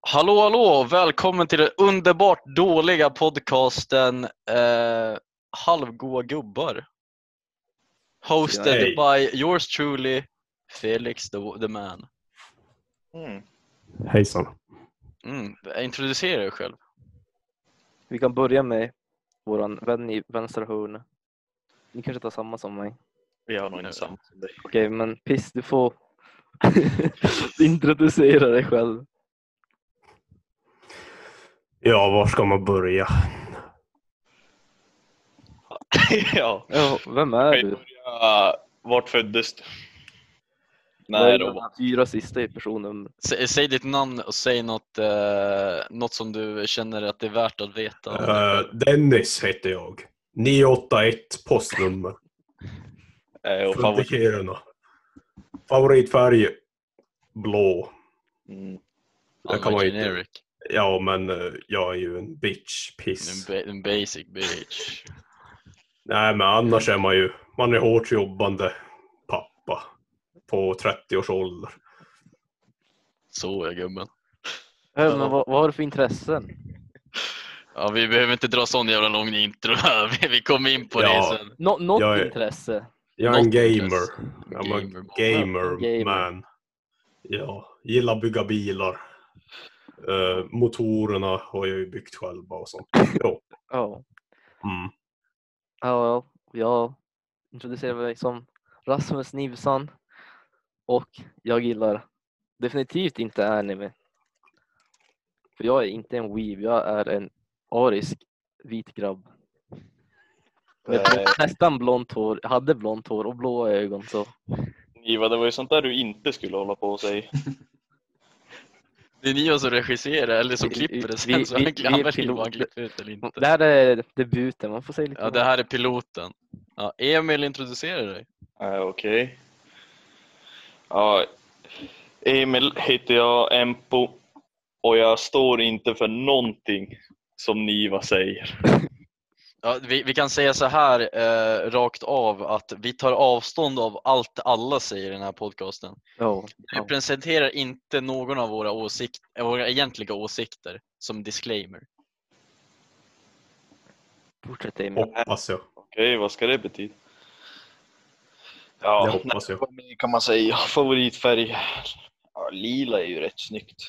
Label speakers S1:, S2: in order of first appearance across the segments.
S1: Hallå, hallå! Välkommen till den underbart dåliga podcasten eh, Halvgoa gubbar. Hosted
S2: Hej.
S1: by yours truly, Felix the, the man.
S2: Mm.
S3: Hejsan.
S1: Mm. Introducera dig själv.
S4: Vi kan börja med våran vän i vänstra hörn. Ni kanske tar samma som mig.
S2: Vi har nog
S1: Nu.
S2: inte samma som dig.
S4: Okej, men piss, du får introducera dig själv.
S3: Ja, var ska man börja?
S2: ja.
S4: Ja, vem är
S2: Hej.
S4: du?
S2: Uh, vart föddes du?
S4: Vad är
S2: När och
S4: dina Fyra sista i personnummer.
S1: Sä, säg ditt namn och säg något, eh, något som du känner att det är värt att veta.
S3: Eh, Dennis heter jag. 981 postnummer.
S2: eh, och
S3: Från
S2: favorit.
S3: Kiruna. Favoritfärg? Blå.
S2: Mm.
S3: det kan man ju inte-
S1: Generic.
S3: Ja, men eh, jag är ju en bitch.
S1: En,
S3: Piss.
S1: ba- en basic bitch.
S3: Nej, men annars är man ju... Man är hårt jobbande pappa. På 30 års ålder.
S1: Så är gubben.
S4: Ja, men vad, vad har du för intressen?
S1: Ja, vi behöver inte dra sån jävla lång intro här. Vi kommer in på
S3: Ja.
S1: det sen.
S4: Nå, något
S3: Jag är-
S4: intresse?
S3: Jag är en
S1: Något
S3: gamer.
S1: intresse.
S3: Jag är en
S1: Gamer.
S3: gamer,
S4: Gamer.
S3: man. Ja, gillar bygga bilar. Eh, motorerna har jag ju byggt själva och sånt. Jo.
S4: Ja.
S3: Mm.
S4: ja, ja. jag introducerar mig som Rasmus Nivsson och jag gillar definitivt inte anime. För jag är inte en weeb, jag är en arisk vit grabb. Med
S2: Eh,
S4: nästan blont hår, jag hade blont hår och blåa ögon så.
S2: Niva, det var ju sånt där du inte skulle hålla på och säga.
S1: Det är ni som regisserar eller som
S4: Vi-
S1: klipper det
S4: vi-
S1: sen. Så
S4: vi-
S1: han
S4: vi är
S1: han väljer vad han
S4: piloter.
S1: klipper ut eller
S4: Det
S1: inte.
S4: här är debuten, man får säga lite
S1: Ja, det här är piloten. Ja, Emil introducerar dig.
S2: Eh, Okej. Ja, Emil heter jag, Empo. Och jag står inte för någonting som Niva säger.
S1: Ja, vi, vi kan säga så här eh, rakt av att vi tar avstånd av allt alla säger i den här podcasten.
S4: Ja,
S1: Vi
S4: ja.
S1: presenterar inte någon av våra, åsikt, eh, våra egentliga åsikter som disclaimer.
S4: Fortsätt Emil.
S3: Hoppas jag.
S2: Okej, vad ska det betyda?
S3: Det
S2: Ja,
S3: hoppas jag.
S2: Vad mer kan man säga? Favoritfärg? Ja, lila är ju rätt snyggt.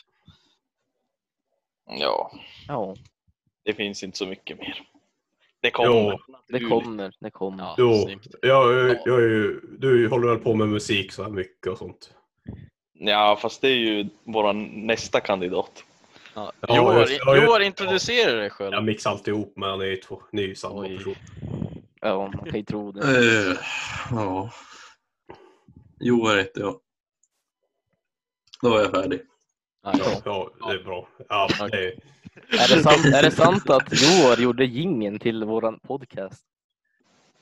S2: Ja,
S4: Ja,
S2: det finns inte så mycket mer. Det kommer.
S3: Jo.
S4: det kommer, det kommer.
S1: Ja,
S3: Jo.
S1: snyggt.
S3: Jag, är- jag är ju, du håller väl på med musik så här mycket och sånt?
S2: Ja, fast det är ju vår nästa kandidat.
S1: Ja.
S3: Ja,
S1: Joar,
S3: just- ja, just-
S1: Joar, introducera dig själv.
S3: Jag mixar alltid ihop men ni är två. Ni är ju samma
S1: Oj.
S3: person.
S4: Ja, man kan ju tro det.
S5: Eh, ja. Joar heter jag. Då är jag färdig.
S1: Nej.
S3: Ja, det är bra. Ja, det är,
S4: Är det sant, är det sant att Joar gjorde gingen till våran podcast?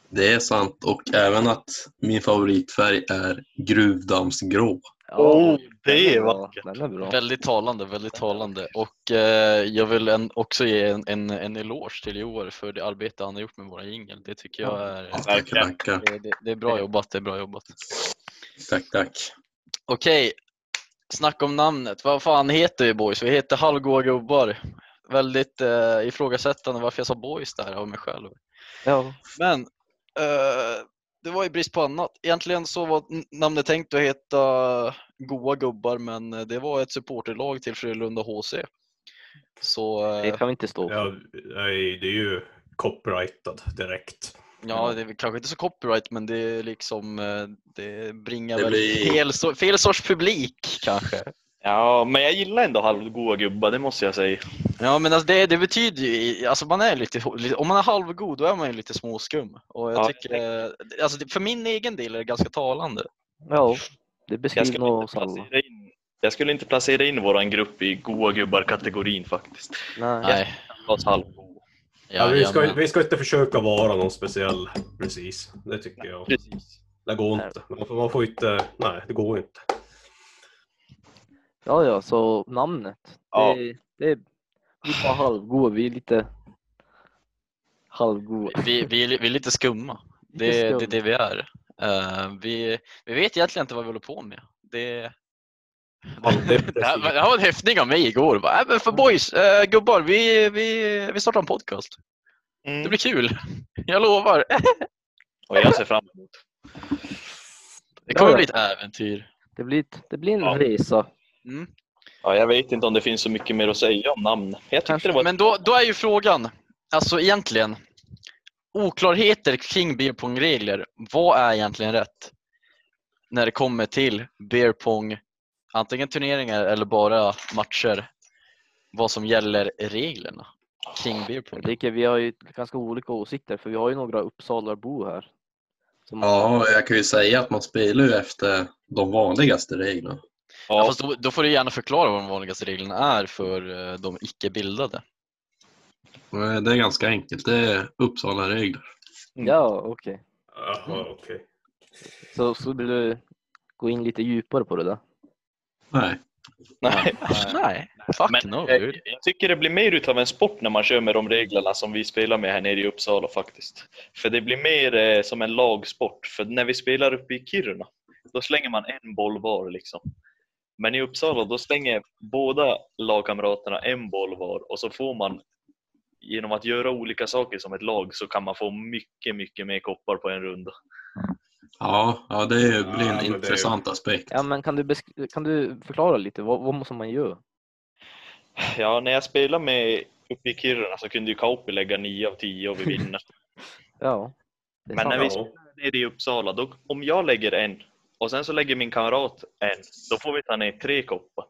S5: Det är sant och även att min favoritfärg är gruvdammsgrå.
S4: Ja,
S2: Oh, det
S4: den
S2: är
S4: bra,
S2: vackert.
S4: Den är bra.
S1: Väldigt talande, väldigt talande. Och eh, jag vill en, också ge en, en, en eloge till Joar för det arbete han har gjort med våra jingel. Det tycker jag är,
S5: Ja, tack, tackar.
S1: det, det, det är bra jobbat. Det är bra jobbat.
S5: Tack, tack.
S1: Okej, snack om namnet. Vad fan heter vi boys? Vi heter Halvgoa gubbar. Väldigt eh, ifrågasättande varför jag sa boys där av mig själv.
S4: Ja,
S1: Men eh, det var i brist på annat. Egentligen så var n- namnet tänkt att heta Goa gubbar men eh, det var ett supporterlag till Frölunda HC. Så eh,
S4: det kan vi inte stå för.
S3: ja, nej, det är ju copyrightad direkt.
S1: Ja, det är väl kanske inte så copyright men det är liksom eh, det bringar
S5: Det
S1: väl
S5: blir-
S1: fel, so- fel sorts publik kanske.
S2: Ja, men jag gillar ändå halvgoa gubbar, det måste jag säga.
S1: Ja men alltså det, det betyder ju, i- alltså man är lite, lite- om man är halvgod då är man ju lite småskum. Och jag
S2: Ja.
S1: tycker, eh, alltså det- för min egen del är det ganska talande.
S4: Ja, det
S2: Jag
S4: beskriver
S2: skulle
S4: nog
S2: inte
S4: oss alla.
S2: placera in, jag skulle inte placera in våran grupp i goa gubbar-kategorin faktiskt.
S4: Nej.
S1: Nej,
S2: Oss halvgoa.
S3: Ja, vi, ska,
S1: jajamän.
S3: vi ska inte försöka vara någon speciell precis. Det tycker jag.
S2: Precis.
S3: Det går inte. Man får, man får inte... Nej, det går inte.
S4: Ja, ja, så namnet.
S2: Ja.
S4: Det, det, vi är bara halvgoa, vi är lite halvgoa.
S1: vi, vi, är li- vi är lite skumma. Det är det, är det vi är. Eh, vi, vi vet egentligen inte vad vi håller på med. Det, Det här, det här var en häftning av mig igår. Bara, äh, men för boys, eh, gubbar, vi, vi, vi startar en podcast. Det
S2: Mm.
S1: blir kul. Jag lovar.
S2: Och jag ser fram emot.
S1: Det kommer
S4: Ja,
S1: bli
S4: ja.
S1: ett äventyr.
S4: Det blir, ett- det blir en
S2: Ja.
S4: resa.
S1: Mm.
S2: Ja, jag vet inte om det finns så mycket mer att säga om namn. Jag tyckte det var...
S1: Men då, då är ju frågan, alltså egentligen, oklarheter kring beer pong-regler. Vad är egentligen rätt? När det kommer till beer pong, antingen turneringar eller bara matcher. Vad som gäller reglerna kring beer pong.
S4: Jag tycker vi har ju ganska olika åsikter för vi har ju några Uppsalabor här. Som,
S5: Ja, jag kan ju säga att man spelar ju efter de vanligaste reglerna.
S1: Ja,
S2: Ja,
S1: fast då, då får du gärna förklara vad de vanligaste reglerna är för eh, de icke-bildade.
S5: Nej, Eh, Det är ganska enkelt. Det är Uppsala-regler.
S4: ja okej.
S3: Jaha, okej.
S4: Så, så vill du gå in lite djupare på det där?
S5: Nej.
S2: nej.
S1: Nej, fuck
S2: Men eh,
S1: no
S2: jag,
S1: dude.
S2: jag tycker det blir mer utav en sport när man kör med de reglerna som vi spelar med här nere i Uppsala faktiskt. För det blir mer eh, som en lagsport. För när vi spelar uppe i Kiruna, då slänger man en boll var liksom. Men i Uppsala, då slänger båda lagkamraterna en boll var och så får man genom att göra olika saker som ett lag så kan man få mycket, mycket mer koppar på en runda.
S5: Ja, ja det blir
S3: Ja, men
S5: en
S3: det är ju-
S5: intressant aspekt.
S4: Ja, men kan du, besk- kan du förklara lite? Vad, vad måste man göra?
S2: Ja, när jag spelade med uppe i Kiruna så kunde ju Kauppi lägga 9 av 10 och vi vinner.
S4: Ja. det är
S2: Men
S4: sant.
S2: när vi-
S3: Ja.
S2: nere i Uppsala, då, om jag lägger en och sen så lägger min kamrat en, då får vi ta ner tre koppar.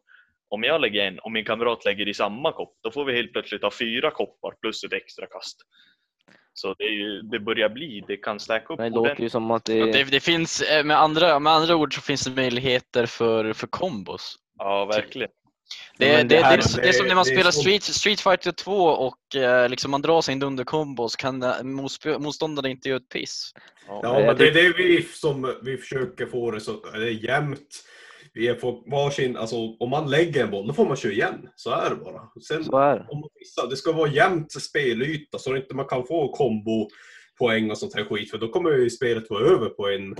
S2: Om jag lägger en och min kamrat lägger i samma kopp, då får vi helt plötsligt ha fyra koppar plus ett extra kast. Så det, är ju, det börjar bli, det kan stacka upp
S4: Men det låter
S2: ordentligt.
S4: ju som att det
S1: Ja,
S4: är...
S1: Det, det finns, eh, med andra, med andra ord så finns det möjligheter för, för kombos.
S2: Ja, verkligen.
S1: Det,
S4: Ja,
S1: det,
S4: men
S1: det,
S4: det här-
S1: är, det är som när man
S3: det är
S1: spelar
S3: så-
S1: Street, Street Fighter 2 och eh, liksom man drar sin dunderkombo så kan eh, motsp- motståndaren inte göra ett piss.
S3: Ja, men det är det vi, som vi försöker få det så det är jämnt. Vi får varsin, alltså om man lägger en boll, då får man köra igen. Så är det bara. Sen
S4: Så är det.
S3: om man missar, det ska vara jämnt spelyta så att inte man kan få kombopoäng och sånt här skit. För då kommer ju spelet vara över på en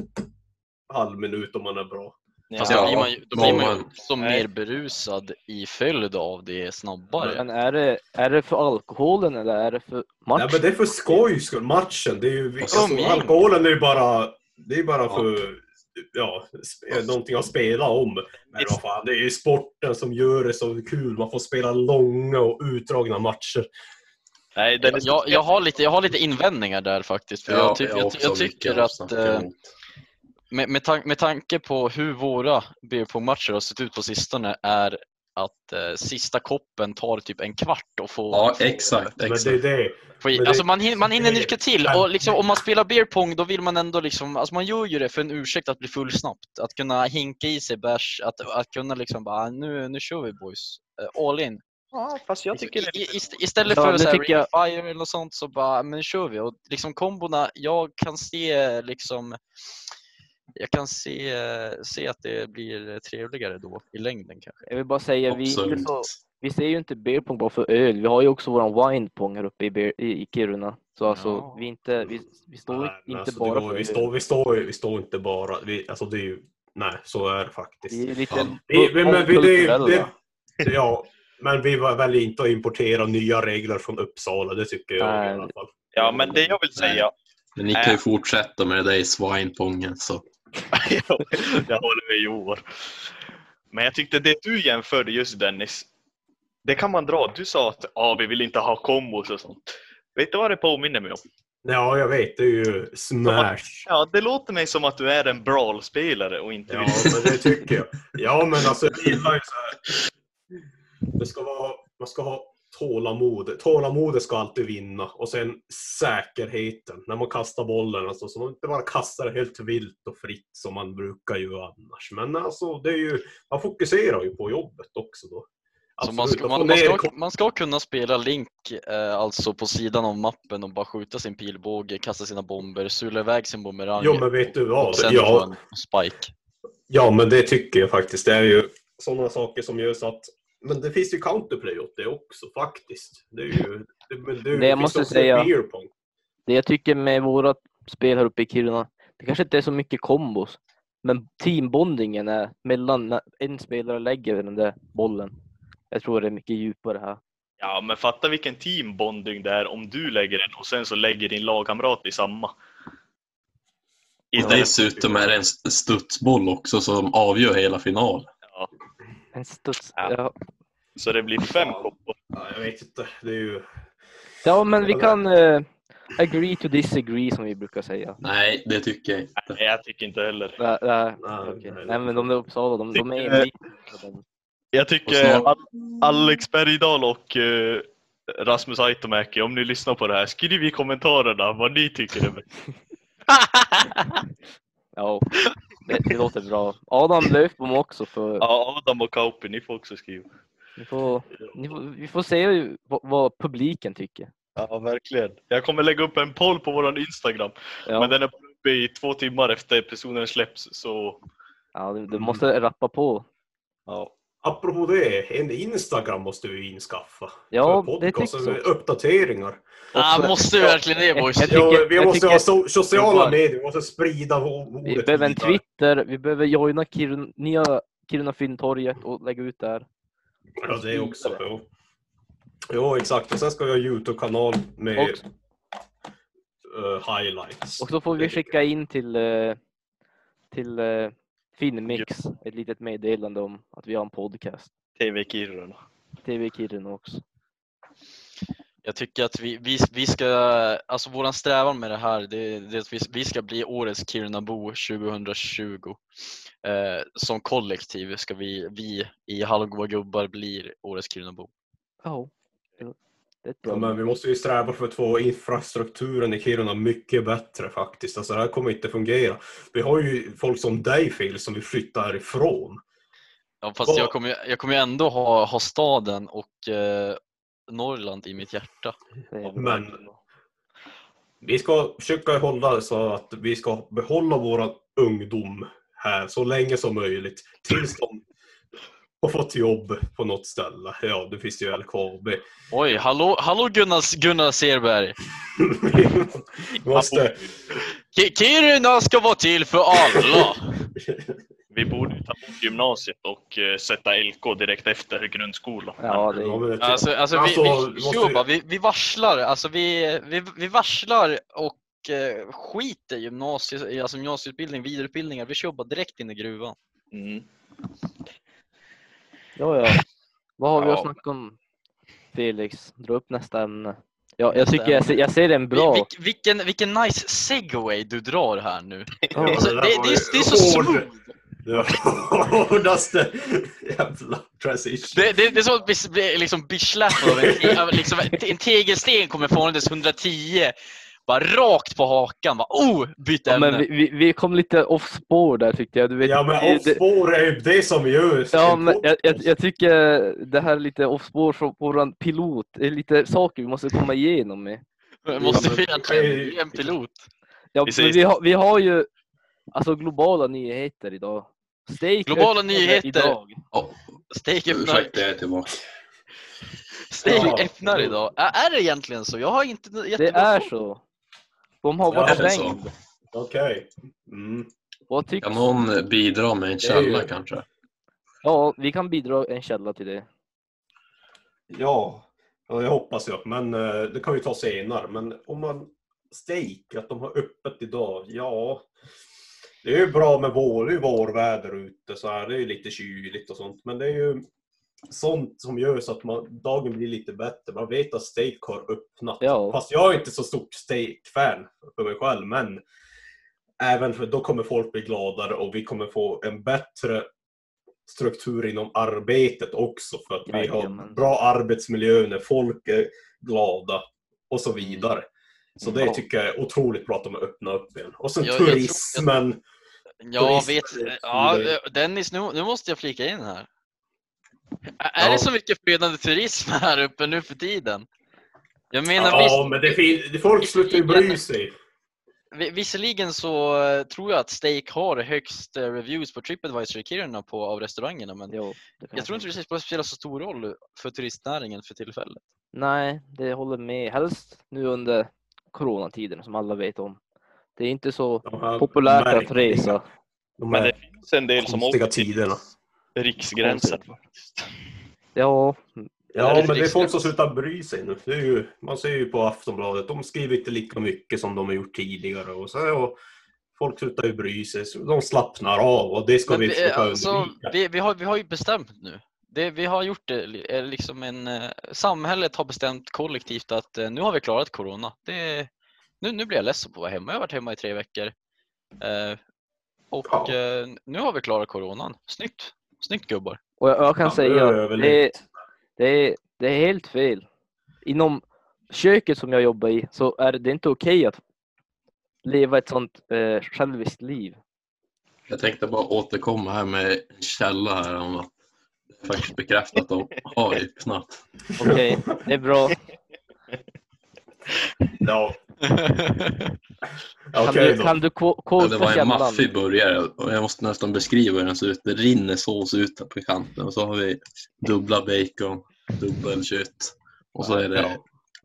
S3: halv minut om man är bra.
S2: Ja.
S1: Fast
S5: Ja,
S1: då blir man, ju- då blir man ju
S5: man-
S1: också
S2: Nej.
S1: mer berusad i följd av det snabbare.
S4: Men är det, är det för alkoholen eller är det för matchen?
S3: Nej men det är för skojs skull. Matchen, det är ju...
S5: Och så
S3: Alltså,
S1: umgänge.
S3: alkoholen är ju bara... Det är bara
S5: Ja.
S3: för... Ja, sp- någonting att spela om. Men
S2: Visst.
S3: vad fan, det är ju sporten som gör det så kul. Man får spela långa och utdragna matcher.
S2: Nej, den är
S1: Jag, jag, har lite, jag har lite invändningar där faktiskt. För jag, ty- jag, ty- jag tycker att eh, med, med, tan- med tanke på hur våra BPO-matcher har sett ut på sistone är att eh, sista koppen tar typ en kvart och får...
S5: Ja, exakt.
S3: Men det är
S5: exakt.
S3: det.
S1: Får, i-
S3: Men det-
S1: alltså man, hin- man hinner
S3: det-
S1: nyka till och liksom, om man spelar beer pong då vill man ändå liksom, alltså man gör ju det för en ursäkt att bli full snabbt. Att kunna hinka i sig bärs, att, att kunna liksom bara nu, nu kör vi boys, Eh, all in.
S2: Ja, fast jag tycker det
S1: I-
S2: är lite...
S1: ist- istället
S4: Ja,
S1: för
S4: det
S1: så här
S4: tycker jag-
S1: ring fire eller något sånt så bara, men kör vi. Och liksom kombona, jag kan se liksom jag kan se, se att det blir trevligare då i längden kanske.
S4: Jag vill bara säga, vi, är inte
S5: Absolut.
S4: så, vi ser ju inte beer pong bara för öl. Vi har ju också våran wine pong här uppe i, beer, i, i Kiruna. Så alltså,
S1: Ja.
S4: vi, är inte, vi, vi står
S3: Nej, men
S4: inte
S3: alltså, det
S4: bara
S3: går-
S4: för
S3: vi,
S4: öl.
S3: står, vi, står, ju- vi står inte bara... Vi, alltså det är ju... Nej, så är det faktiskt.
S4: Vi är lite
S5: Ja.
S3: Vi, vi, men vi, det,
S4: mångkulturella.
S3: det, ja, men vi väljer inte att importera nya regler från Uppsala. Det tycker jag
S4: Nej.
S3: i alla fall.
S2: Ja, men det jag vill säga...
S5: Men ni kan ju fortsätta med det där i svinpongen. Så.
S2: jag håller med Joar. Men jag tyckte det du jämförde just Dennis, det kan man dra. Du sa att ah, vi vill inte ha kombos och sånt. Vet du vad det påminner mig om?
S3: Ja, jag vet. Det är ju Smash.
S2: Ja, det låter mig som att du är en brawlspelare och inte
S3: Ja,
S2: vill...
S3: men det tycker jag. Ja, men alltså jag gillar ju så här. Det ska vara, man ska ha tålamod. Tålamodet ska alltid vinna. Och sen säkerheten. När man kastar bollen, alltså, så man inte bara kastar helt vilt och fritt som man brukar göra annars. Men alltså, det är ju, man fokuserar ju på jobbet också då.
S1: Så man,
S3: Absolut,
S1: ska,
S3: att
S1: man,
S3: få
S1: man,
S3: ner
S1: ska, man ska kunna spela Link eh, alltså på sidan av mappen och bara skjuta sin pilbåge, kasta sina bomber, sula iväg sin bumerang
S3: Jo, men vet du vad?
S1: och sen
S3: Ja.
S1: få en spike.
S3: Ja, men det tycker jag faktiskt. Det är ju sådana saker som gör så att... Men det finns ju counterplay åt det också faktiskt. Det är ju... Det, men det,
S4: jag
S3: finns
S4: måste
S3: också
S4: säga-
S3: beer pong.
S4: Det jag tycker med våra spel här uppe i Kiruna, det kanske inte är så mycket kombos. Men teambondingen är mellan när en spelare lägger den där bollen. Jag tror det är mycket djupare här.
S2: Ja, men fatta vilken teambonding det är om du lägger den och sen så lägger din lagkamrat i samma.
S5: Och dessutom är det en st- studsboll också som avgör hela finalen.
S4: En studs.
S2: Ja.
S4: Ja.
S2: Så det blir fem
S3: Ja.
S2: koppar.
S3: Ja, jag vet inte. Det är ju...
S4: ja, men vi kan eh, agree to disagree som vi brukar säga.
S5: Nej, det tycker jag inte.
S2: Nej, jag tycker inte heller.
S4: Nej, nej,
S3: Nej,
S4: okej.
S3: nej.
S4: nej men de där Uppsala, de,
S3: Eh,
S4: de är
S2: Tycker-
S4: envisa.
S2: Jag
S5: Och
S2: tycker
S5: snart-
S2: Al- Alex Bergdahl och eh, Rasmus Aitomäki, om ni lyssnar på det här, skriv i kommentarerna vad ni tycker. Är bäst.
S4: Ja, det, det låter bra. Adam Löfbom också. För,
S2: ja, Adam och Kauppi, ni får också skriva.
S4: ni får, ni får, vi får se ju vad, vad publiken tycker.
S2: Ja, verkligen. Jag kommer lägga upp en poll på våran Instagram,
S4: Ja,
S2: men den är bara uppe i två timmar efter episoden släpps. Så
S4: ja, du,
S3: Mm.
S4: du måste rappa på.
S2: ja.
S3: Apropå det, en Instagram måste vi inskaffa.
S4: Ja,
S3: För
S4: det
S3: podcasten
S4: tycker
S3: med
S4: jag
S3: Uppdateringar.
S1: Ah,
S4: Också-
S1: måste vi verkligen det boys?
S4: Jag
S3: Ja,
S4: tycker-
S3: vi
S4: jag
S3: måste
S4: tycker-
S3: ha so- sociala
S4: bara-
S3: medier, vi måste sprida o- ordet
S4: Vi behöver en
S3: vidare.
S4: Twitter, vi behöver joina Kiruna, nya Kiruna Fyndtorget och lägga ut där.
S3: Ja, det också. Jo. jo, exakt. Och sen ska vi ha Youtube-kanal med
S4: Och-
S3: eh, highlights.
S4: Och så får vi skicka in till, eh, till eh, Finnmix ett litet meddelande om att vi har en podcast.
S2: TV Kiruna.
S4: TV Kiruna också.
S1: Jag tycker att vi, vi, vi ska, alltså våran strävan med det här, det, det är att vi, vi ska bli årets Kirunabo 2020. Eh, som kollektiv ska vi, vi i Halvgoa gubbar blir årets Kirunabo.
S4: Ja, det- det är ett
S3: Ja,
S4: bra.
S3: men vi måste ju sträva för att få infrastrukturen i Kiruna mycket bättre faktiskt. Alltså det här kommer inte fungera. Vi har ju folk som dig Phil som vill flytta härifrån.
S1: Ja, fast jag
S3: Vad-
S1: kommer, ju- jag kommer ju ändå ha, ha staden och eh, Norrland i mitt hjärta.
S4: Det är bra.
S3: Men vi ska försöka hålla så att vi ska behålla våra ungdom här så länge som möjligt. Tills de har fått jobb på något ställe. Ja, det finns ju LKAB.
S1: Oj, hallå, hallå Gunnar, Gunnar Serberg!
S3: Vi måste...
S1: Ki- Kiruna ska vara till för alla!
S2: Vi borde ju ta bort gymnasiet och eh, sätta LK direkt efter grundskolan.
S4: Ja, det
S3: Ja,
S4: är,
S3: men det-
S1: Alltså, alltså,
S3: Alltså,
S1: vi, vi,
S3: måste vi-
S1: Juba, vi, vi varslar. Alltså, vi, vi, vi varslar och eh, skiter i gymnasie, i, alltså gymnasieutbildning, vidareutbildningar. Vi kör bara direkt in i gruvan.
S2: Mm.
S4: ja, ja. Vad har vi att
S2: Ja.
S4: snacka om? Felix, dra upp nästa ämne. Ja, jag
S1: Nästa
S4: tycker jag ser, jag ser en
S1: Vi,
S4: bra.
S1: vilk- vilken, vilken nice segway du drar här nu.
S4: Ja,
S1: Det är så,
S3: det där
S1: det, det,
S3: var
S1: är,
S3: ju
S1: det är så
S3: hård.
S1: smooth.
S3: Det var hårdaste jävla transition.
S1: Det, det, det är som att bli, bli liksom bitchlappad av en, te- av liksom, en tegelsten kommer farandes 110. Bara rakt på hakan. Bara, oh, byt
S4: Ja,
S1: ämne.
S4: men vi, vi, vi kom lite off spår där tyckte jag. Du vet,
S3: Ja
S4: det-
S3: men
S4: det-
S3: off-spår är ju det som gör
S4: Ja, men jag, jag, jag tycker det här är lite off-spår från våran pilot. Det är lite saker vi måste komma igenom med.
S1: Måste
S3: Ja,
S1: vi
S3: men-
S1: egentligen bli en pilot?
S4: Ja,
S2: Vi
S4: men
S2: säger-
S4: vi, har, vi har ju alltså, globala nyheter idag. Steak
S1: Globala
S4: öppnade
S1: nyheter.
S4: Idag.
S5: Ja,
S1: Steg öppnar
S5: ursäkta, jag är tillbaka.
S1: Steg
S3: Ja.
S1: öppnar idag. Ä- Är det egentligen så? Jag har inte
S4: Det
S1: jättebra
S4: är
S1: koll.
S4: så. De har varit
S3: Ja,
S5: det är
S4: stängd.
S3: Okej. Mm.
S4: Vad tycks...
S5: Kan någon bidra med en källa
S3: Det är-
S5: kanske?
S4: Ja, vi kan bidra en källa till det.
S3: Ja, ja, jag hoppas jag. Men eh, det kan vi ta senare. Men om man steak, att de har öppet idag. Ja, det är ju bra med vår, det är ju vårväder ute så här. Det är ju lite kyligt och sånt. Men det är ju sånt som gör så att man, dagen blir lite bättre. Man vet att steak har öppnat.
S4: Ja.
S3: Fast jag är inte så stort steak-fan för mig själv. Men även för då kommer folk bli gladare och vi kommer få en bättre struktur inom arbetet också för att vi har
S4: Jajamän.
S3: bra arbetsmiljö när folk är glada och så vidare. Så det
S4: Ja.
S3: tycker jag är otroligt bra att de öppnar upp igen. Och sen
S1: Jag- jag tror-
S3: turismen.
S1: Jag
S3: Turism-
S1: vet. Ja, Dennis, nu, nu måste jag flika in här. Ä- Är
S3: Ja.
S1: det så mycket flödande turism här uppe nu för tiden? Jag menar,
S3: ja,
S1: visst,
S3: men det finns, folk slutar ju bry sig.
S1: vi- visserligen så eh, tror jag att Steak har högst eh, reviews på Tripadvisor i Kiruna på, av restaurangerna, men
S4: Jo, det kan
S1: jag tror inte det spelar så stor roll för turistnäringen för tillfället.
S4: Nej, det håller med. Helst nu under coronatiden som alla vet om. Det är inte så
S3: De här
S4: populärt att
S3: märkliga-
S4: resa.
S3: De
S2: Men
S3: här
S2: det finns en del som
S3: konstiga
S2: åker till
S3: tiderna.
S2: riksgränsen
S4: Konstigt.
S2: faktiskt.
S4: Ja,
S3: Ja,
S4: det är
S3: men det är folk
S4: riktigt.
S3: som slutar bry sig nu. Det är ju, man ser ju på Aftonbladet, de skriver inte lika mycket som de har gjort tidigare. Och så, och folk slutar ju bry sig, så de slappnar av och det ska
S1: Men
S3: vi
S1: vi,
S3: försöka
S1: alltså,
S3: undvika.
S1: vi, vi, har, vi har ju bestämt nu. Det, vi har gjort det, li- är liksom en, eh, samhället har bestämt kollektivt att eh, nu har vi klarat corona. Det, nu, nu blir jag ledsen på att vara hemma. Jag har varit hemma i tre veckor. Eh, och
S3: Ja.
S1: eh, nu har vi klarat coronan. Snyggt! Snyggt gubbar!
S4: och jag, jag kan
S3: Ja,
S4: säga Eh.
S3: det är
S4: att
S3: väl
S4: det, är-
S3: lugnt.
S4: det, är, det är helt fel. Inom köket som jag jobbar i så är det inte okej att leva ett sånt eh, själviskt liv.
S5: Jag tänkte bara återkomma här med en källa här om att det är faktiskt bekräftat att de har öppnat.
S4: Okej, det är bra.
S3: Ja,
S4: Kan
S3: okej
S4: du,
S3: då.
S4: kan du ko-
S5: Ja, det
S4: kodra
S5: var en
S4: källan?
S5: maffig burgare och jag måste nästan beskriva hur den ser ut. Det rinner sås ut här på kanten och så har vi dubbla bacon, dubbelkött och så är det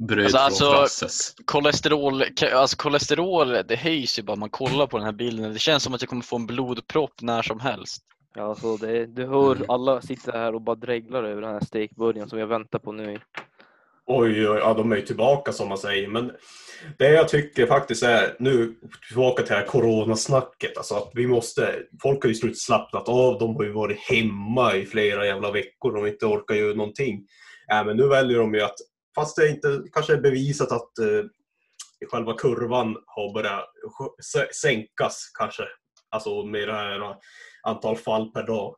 S5: bröd
S1: Alltså, alltså-
S5: från Frasses.
S1: Kolesterol, ka- alltså kolesterol det höjs ju bara man kollar på den här bilden. Det känns som att jag kommer få en blodpropp när som helst.
S4: Ja, så det, du hör
S5: Mm.
S4: alla sitta här och bara dreglar över den här stekburgaren som jag väntar på nu.
S3: Oj, oj, ja, de är ju tillbaka som man säger. Men det jag tycker faktiskt är, nu tillbaka till det här coronasnacket, alltså att vi måste, folk har ju slut slappnat av, de har ju varit hemma i flera jävla veckor, de har inte orkat göra någonting. Äh, men nu väljer de ju att, fast det inte kanske är bevisat att eh, själva kurvan har börjat sj- sä- sänkas kanske, alltså med det här eh, antal fall per dag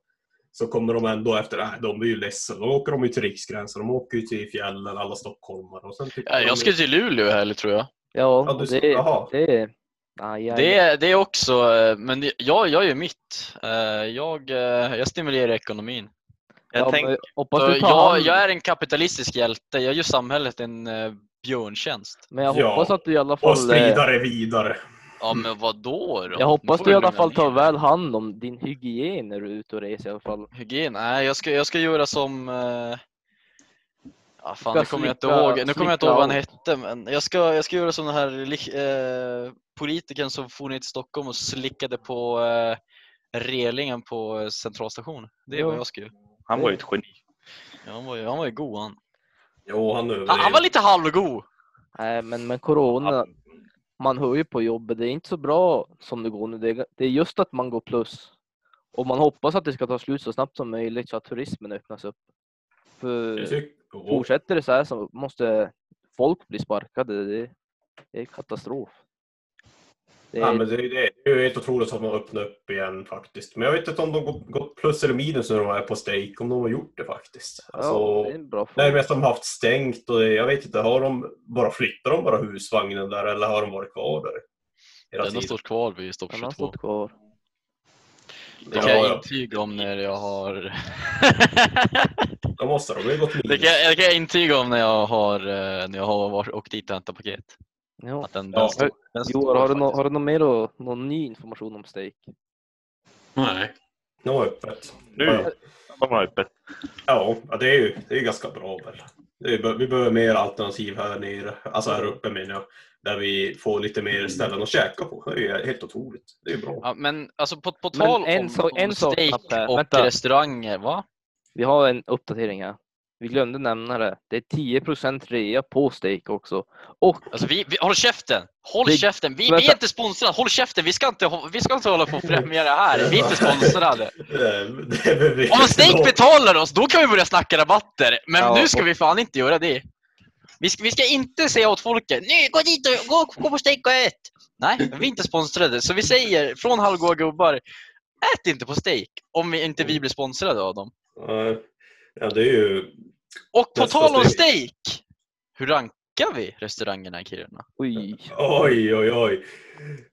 S3: så kommer de ändå efter, nej, de är ju ledsna. Då åker de ju till Riksgränsen, de åker ju till fjällen, alla stockholmare. Och sen tycker
S1: Ja,
S3: de
S1: Eh, Jag ska
S3: ju-
S1: till Luleå här tror jag.
S4: Ja,
S3: Ja,
S4: och
S3: du ska-
S4: det,
S3: jaha.
S4: det är... Aj, aj,
S1: Det, är- det är också, eh, men det- jag jag gör mitt. Eh, Jag, eh, jag stimulerar ekonomin.
S2: Jag
S4: ja,
S2: tänker
S4: men hoppas
S1: Så
S4: du tar
S1: jag,
S4: hand,
S1: jag är en kapitalistisk hjälte, jag gör samhället en eh, björntjänst.
S4: men jag
S3: Ja.
S4: hoppas att du i alla
S3: Och
S4: fall... eh,
S3: sprida det vidare.
S1: Ja men vadå då?
S4: Mm. Jag
S1: Nu
S4: hoppas
S1: får
S4: du i alla
S1: lugna
S4: fall tar
S1: ner
S4: väl hand om din hygien när du är ute och reser i alla fall.
S1: dig. Hygien? Nej jag ska, jag ska göra som... eh, Ja, fan,
S4: ska
S1: nu kommer jag inte
S4: slicka-
S1: ihåg, nu kommer jag inte
S4: slicka
S1: ihåg vad han
S4: av.
S1: hette men jag ska, jag ska göra som den här li- eh, politikern som for ner till Stockholm och slickade på eh, relingen på eh, centralstationen. Det är vad
S4: Ja.
S1: jag ska göra.
S2: Han var ju ett geni.
S1: Ja, han, var ju, han var ju god han.
S3: Jo, han
S1: Han, han var lite halvgod!
S4: Nej, men, men corona, man hör ju på jobbet, det är inte så bra som det går nu. Det är, det är just att man går plus. Och man hoppas att det ska ta slut så snabbt som möjligt så att turismen öppnas upp. För
S3: överlevde.
S4: fortsätter det så här så måste folk bli sparkade. Det, det är katastrof. Det
S3: Ja,
S4: är,
S3: men det, är ju det. det är ju helt otroligt att de har öppnat upp igen faktiskt. Men jag vet inte om de gått- gått plus eller minus när de är på strejk, om de har gjort det faktiskt. Alltså,
S4: ja, det är en bra
S3: Nej,
S4: fråga.
S3: men att de har haft stängt och det- jag vet inte, har de bara flyttat de bara husvagnen där eller har de varit kvar där? Hela
S1: Den har
S3: tiden?
S1: stått kvar vid stopp
S4: Den har
S1: 22.
S4: stått kvar.
S1: Det kan
S3: Ja,
S1: jag
S3: ja.
S1: intyga om när jag har...
S3: Då måste de ju gått minus.
S1: det, kan, det kan jag intyga om när jag har, eh, när jag har varit, åkt dit och hämtat paket.
S4: Ja.
S1: Att den,
S3: Ja.
S1: den stod, den stod
S4: Joar, har du, nå-
S1: faktiskt.
S4: har du någon mer och, någon ny information om steak?
S5: Nej.
S3: De har öppet.
S2: Nu,
S3: Ja, ja.
S2: de har öppet.
S3: Ja, ja, det är ju det är ganska bra väl. Det är, vi behöver mer alternativ här nere, alltså här uppe menar jag. Där vi får lite
S4: Mm.
S3: mer ställen att käka på. Det är ju helt otroligt. Det är ju bra.
S1: Ja, men alltså på, på
S4: Men
S1: tal
S4: en
S1: om,
S4: sak- en
S1: om
S4: sak
S1: steak
S4: knappt här.
S1: och
S4: Vänta.
S1: restauranger, va?
S4: Vi har en uppdatering här. Vi glömde nämna det. Det är 10 rea på steak också. Och
S1: Alltså vi, vi, håll käften! Håll
S4: Vi-
S1: käften! Vi, vi
S4: vänta.
S1: är inte sponsrade! Håll käften! Vi ska inte, hå- vi ska inte hålla på och främja det här! Vi är inte sponsrade!
S3: Det, det behöver vi
S1: Om
S3: inte
S1: Snake
S3: nå.
S1: betalar oss, då kan vi börja snacka rabatter. Men
S4: Ja,
S1: nu ska
S4: och-
S1: vi fan inte göra det. Vi ska, vi ska inte säga åt folket, nu gå dit och gå, gå på Snake och ät. Nej, vi är inte sponsrade. Så vi säger från Halvgoa gubbar, ät inte på Steak om vi, inte vi blir sponsrade av dem.
S3: Nej. Ja, det är ju...
S1: Och på
S3: Nästa
S1: tal om
S3: steg.
S1: Steak, hur rankar vi restaurangerna i Kiruna?
S4: oj,
S3: Oj, oj, oj.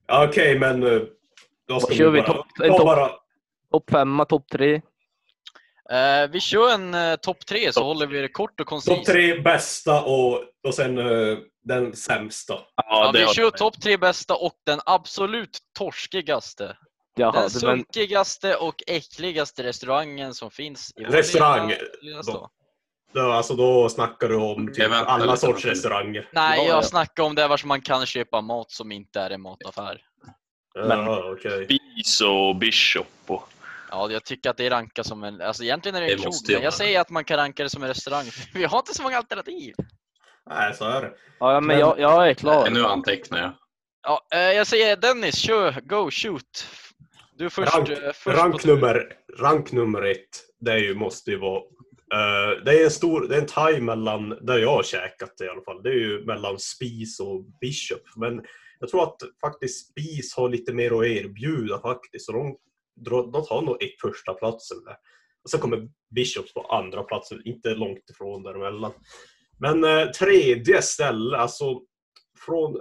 S3: Ja, Okej, men... eh, Då ska
S4: kör
S3: vi
S4: vi
S3: bara...
S4: topp- en
S3: ta
S4: topp-
S3: bara
S4: topp femma, topp tre.
S1: Eh, vi kör en uh, topp tre så håller vi det kort och
S3: topp
S1: koncist.
S3: tre bästa och, och sen eh, den sämsta.
S1: Ja,
S2: det
S1: vi
S2: har-
S1: kör topp tre bästa och den absolut torskigaste.
S4: Jaha,
S1: Den
S4: det, men,
S1: sunkigaste och äckligaste restaurangen som finns i vår
S3: Restaurang,
S1: lilla- lilla stad.
S3: Då, alltså, då snackar du om
S5: Jag
S3: typ
S5: väntar
S3: alla
S5: lite.
S3: sorts restauranger.
S1: Nej,
S4: Ja,
S1: jag
S4: ja.
S1: snackar om det vars man kan köpa mat som inte är en mataffär.
S2: Men-
S3: Ja, okej.
S2: Bis och Bishop och...
S1: Ja, jag tycker att det rankas som en... Alltså egentligen är det en
S5: Det
S1: krog,
S5: måste jag
S1: men jag
S5: med.
S1: säger att man kan ranka det som en restaurang. Vi har inte så många alternativ.
S3: Nej, så är det.
S4: Ja, men,
S3: Men-
S4: jag, jag är klar.
S5: Nu antecknar jag.
S1: Ja, eh, jag säger Dennis, kör, go, shoot. Du är först.
S3: Rank-
S1: eh, först på
S3: Rank
S1: tur.
S3: nummer, rank nummer ett, det är ju, måste ju vara... eh, det är en stor, det är en thai mellan, där jag har käkat det i alla fall, det är ju mellan Spis och Bishop. Men jag tror att faktiskt Spis har lite mer att erbjuda faktiskt. Så de, drar- de tar nog ett första platsen där. Och sen kommer Bishops på andra platsen, inte långt ifrån däremellan. Men eh, tredje ställe, alltså från...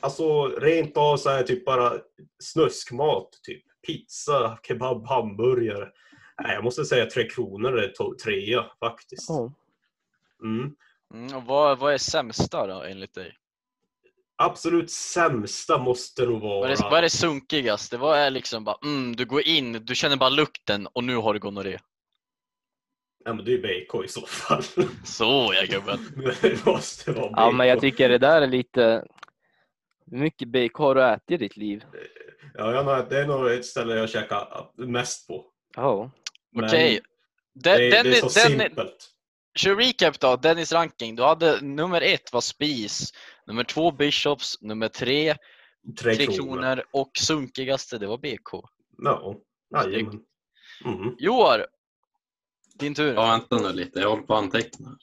S3: Alltså rent av så här typ bara snuskmat, typ. Pizza, kebab, hamburgare. Nej, jag måste säga Tre Kronor är to- trea faktiskt.
S4: Ja.
S3: Mm.
S1: Mm, och vad, vad är sämsta då, enligt dig?
S3: Absolut sämsta måste nog
S1: Vad
S3: vara...
S1: är, det- vad är det sunkigaste? Vad är liksom bara, mm, du går in, du känner bara lukten och nu har du gonorré.
S3: Ja, men det är ju BK i så fall.
S1: Så ja gubben.
S3: det måste vara BK.
S4: ja, men jag tycker det där är lite... Hur mycket bacon har du ätit i ditt liv?
S3: Ja, jag har- det är nog ett ställe jag käkar mest på.
S4: Ja.
S3: Men
S1: Okej.
S3: Det,
S1: Den,
S3: är- det är
S1: Dennis,
S3: så
S1: Dennis,
S3: simpelt.
S1: kör recap då, Dennis ranking. Du hade nummer ett var Spis, nummer två Bishops, nummer tre
S3: Tre,
S1: Tre
S3: Kronor.
S1: Kronor och sunkigaste det var BK.
S3: Ja, jajamän. Mm.
S1: Joar! Din tur.
S5: Ja, vänta nu lite. Jag håller på att anteckna.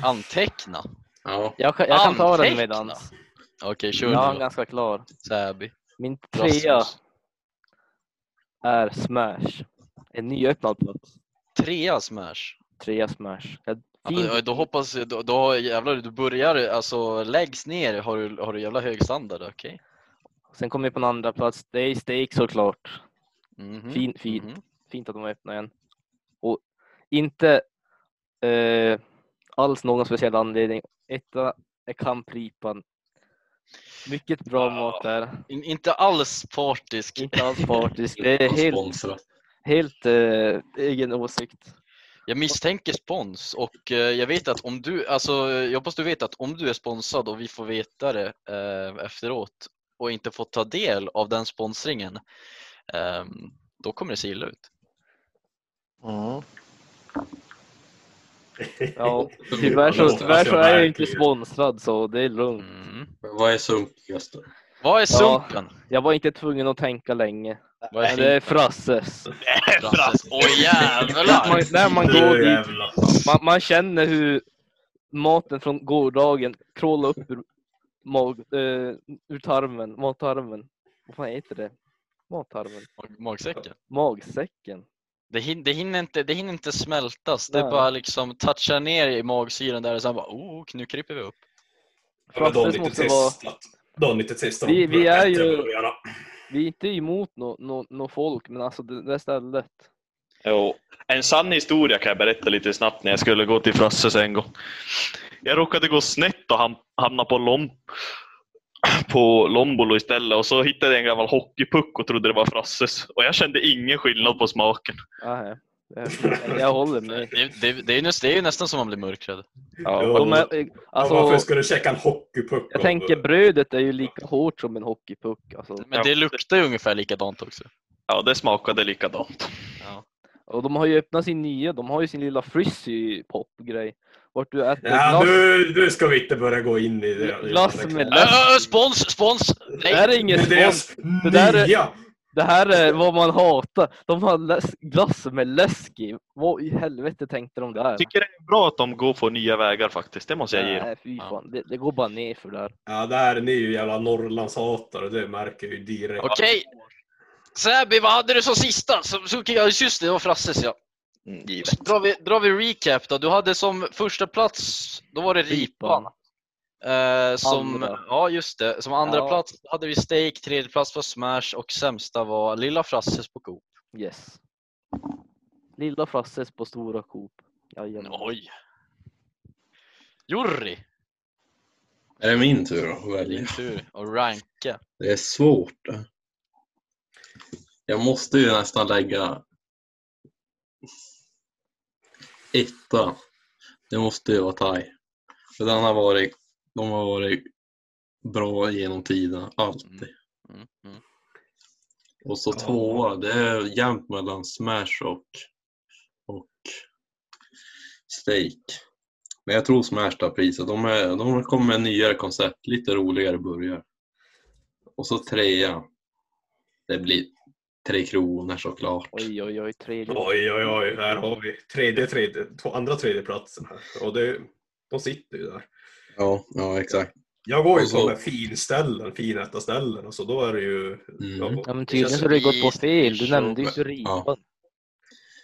S1: Anteckna.
S5: Ja.
S4: Jag, kan- jag kan ta den
S1: Anteckna.
S4: medan.
S1: Okej, kör
S4: Jag
S1: nu
S4: är
S1: då.
S4: ganska klar.
S1: Säby.
S4: Min trea
S1: Rasmus.
S4: är Smash. En nyöppnad plats.
S1: Trea smash.
S4: Trea Smash. Ett fint
S1: Ja, då hoppas jag, då, då jävlar, du börjar, alltså lägst ner har du, har du jävla hög standard, okej?
S4: Sen kommer vi på en andra plats. Det är Steak såklart.
S1: Mhm,
S4: Fin, fin,
S1: mhm.
S4: Fint att de öppnar igen. Och inte eh, alls någon speciell anledning. Etta är kampripan. Mycket bra
S1: Ja.
S4: mat där.
S1: In, inte alls partisk.
S4: Inte alls partisk. Det är helt,
S5: Sponsrat.
S4: helt eh, egen åsikt.
S1: Jag misstänker spons och eh, jag vet att om du, alltså jag hoppas du vet att om du är sponsrad och vi får veta det eh, efteråt och inte får ta del av den sponsringen, ehm, då kommer det se illa ut.
S4: Ja, tyvärr så,
S5: Alltså,
S4: tyvärr så är jag inte
S3: verkligen.
S4: sponsrad så det är lugnt.
S1: Mm.
S5: Vad är sunkigast då?
S1: Vad är
S4: Ja.
S1: sunken?
S4: Jag var inte tvungen att tänka länge.
S1: Vad
S4: Men det är Frasses.
S1: Frasses? Åh
S4: När man,
S1: jävlar!
S4: när man
S3: Du
S4: går dit
S3: jävlar.
S4: Man, man känner hur maten från gårdagen krålar upp ur, mag, eh, ur tarmen, magtarmen. Vad fan heter det? Magtarmen?
S1: Mag- Magsäcken.
S4: Magsäcken?
S1: Det, hin- det, hinner inte, det hinner inte smältas, det
S4: Nej.
S1: bara liksom touchar ner i magsyran där och sen bara oh, nu kryper vi upp.
S3: Ja, men de har
S4: Frasses
S3: inte
S4: måste vara-
S3: testat. De har inte testat.
S4: Vi- vi är ju-
S3: bättre burgarna.
S4: Vi är inte emot något nå nå folk, men alltså det där stället.
S2: Jo. En sann historia kan jag berätta lite snabbt när jag skulle gå till Frasses en gång. Jag råkade gå snett och ham- hamna på, lom- på Lombolo istället och så hittade jag en gammal hockeypuck och trodde det var Frasses. Och jag kände ingen skillnad på smaken.
S4: Nej, jag, jag håller med.
S1: Det, det, det, är, ju näst- det är ju nästan som man blir mörkrädd.
S3: Jo.
S4: De är, eh,
S3: ja, varför
S4: alltså,
S3: ska du käka en hockeypuck?
S4: jag
S3: av-
S4: tänker brödet är ju lika hårt som en hockeypuck. Alltså.
S1: Men det luktar ju ungefär likadant också.
S2: Ja, det smakade likadant.
S4: Och de har ju öppnat sin nya, de har ju sin lilla frizzy pop-grej. Vart du
S3: Ja,
S4: äter glass.
S3: nu, nu ska vi inte börja gå in i det.
S4: Glass med
S1: Ö, ö, ö, spons, spons!
S4: Det här är
S3: Det
S4: ingen
S3: är
S4: spons.
S3: deras
S4: Det där är-
S3: nya!
S4: Det här är vad man hatar. De har läs- glass som är läskig. Vad i helvete tänkte de där?
S2: Jag tycker det är bra att de går på nya vägar faktiskt, det måste jag ge dem.
S4: Nej, fy fan. Det, det går bara ner för där.
S3: Ja, där, ni är ju jävla Norrlandshatare, det märker jag ju direkt.
S1: Okej. Säby, vad hade du som sista? Som, som, ja, just det, det var Frasses ja.
S2: Mm, givet.
S1: Drar vi, drar vi recap då. Du hade som första plats, då var det Ripan. Eh, som,
S4: Andra.
S1: ja, just det. Som andra
S4: Ja.
S1: plats hade vi Steak, tredje plats var Smash och sämsta var Lilla Frasses på Coop.
S4: Yes. Lilla Frasses på Stora Coop. Jajamän.
S1: Oj! Jurri!
S5: Är det min tur att
S1: Din
S5: välja?
S1: tur att ranka.
S5: Det är svårt. det. Jag måste ju nästan lägga etta. Det måste ju vara thai. För den har varit, de har varit bra genom tiden, alltid.
S1: Mm, mm.
S5: Och så tvåa, det är jämnt mellan smash och, och steak. Men jag tror smash tar priset. De, är, de kommer med nyare koncept, lite roligare börjar. Och så trea. Det blir Tre Kronor såklart.
S4: Oj, oj, oj. Tredje.
S3: Oj, oj, oj. Här har vi tredje, tredje, två, andra tredjeplatsen. Här. Och det, de sitter ju där.
S5: Ja, ja exakt.
S3: Jag går ju
S5: Och så-
S3: på de här finställen, finetta ställen. Och så då är det ju...
S5: Mm.
S4: Ja, men
S1: Det
S4: tydligen
S1: känns
S4: har det gått på
S1: lite
S4: fel. Du
S1: så,
S4: nämnde ju
S5: men-
S4: Suripan.
S5: ja.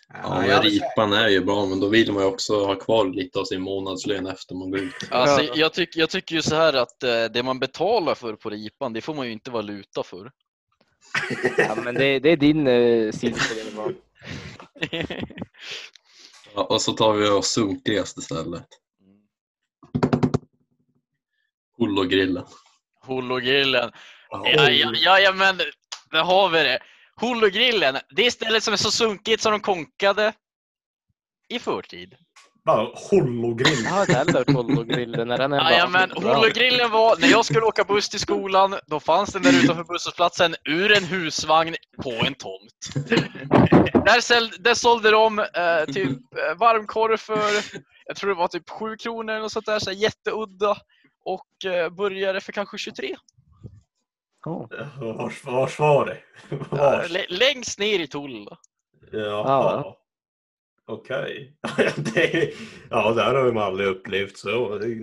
S5: Ja,
S3: Ja,
S5: men
S3: jag,
S5: ripan är ju bra, men då vill man ju också ha kvar lite av sin månadslön efter man går ut.
S1: Alltså,
S4: Ja.
S1: jag, tyck, jag tycker ju så här att eh, det man betalar för på ripan, det får man ju inte valuta för.
S4: Ja, men det, det är din eh, sida på det. va?
S5: Ja, och så tar vi det sunkigaste stället. Hollogrillen.
S1: Hollogrillen.
S5: Ja.
S1: Ja, ja, ja, ja, men där har vi det. Hollogrillen, det är stället som är så sunkigt som de konkade i förtid.
S3: bara hollogrill.
S4: Jag har inte heller hört Hollogrillen. Är den en
S1: Ja, ja, men
S4: bra?
S1: Hollogrillen var, när jag skulle åka buss till skolan, då fanns den där utanför busshållplatsen ur en husvagn på en tomt. Där, säl, där sålde de eh, typ eh, varmkorv för, jag tror det var typ 7 kronor eller något sånt där, så här jätteudda. Och eh, burgare för kanske 23.
S4: Ja.
S3: Vars, vars var det?
S1: Ja,
S3: Vars?
S1: lä- längst ner i Tull.
S3: Jaha. Okej. Det- ja, det här har man aldrig upplevt. Så det,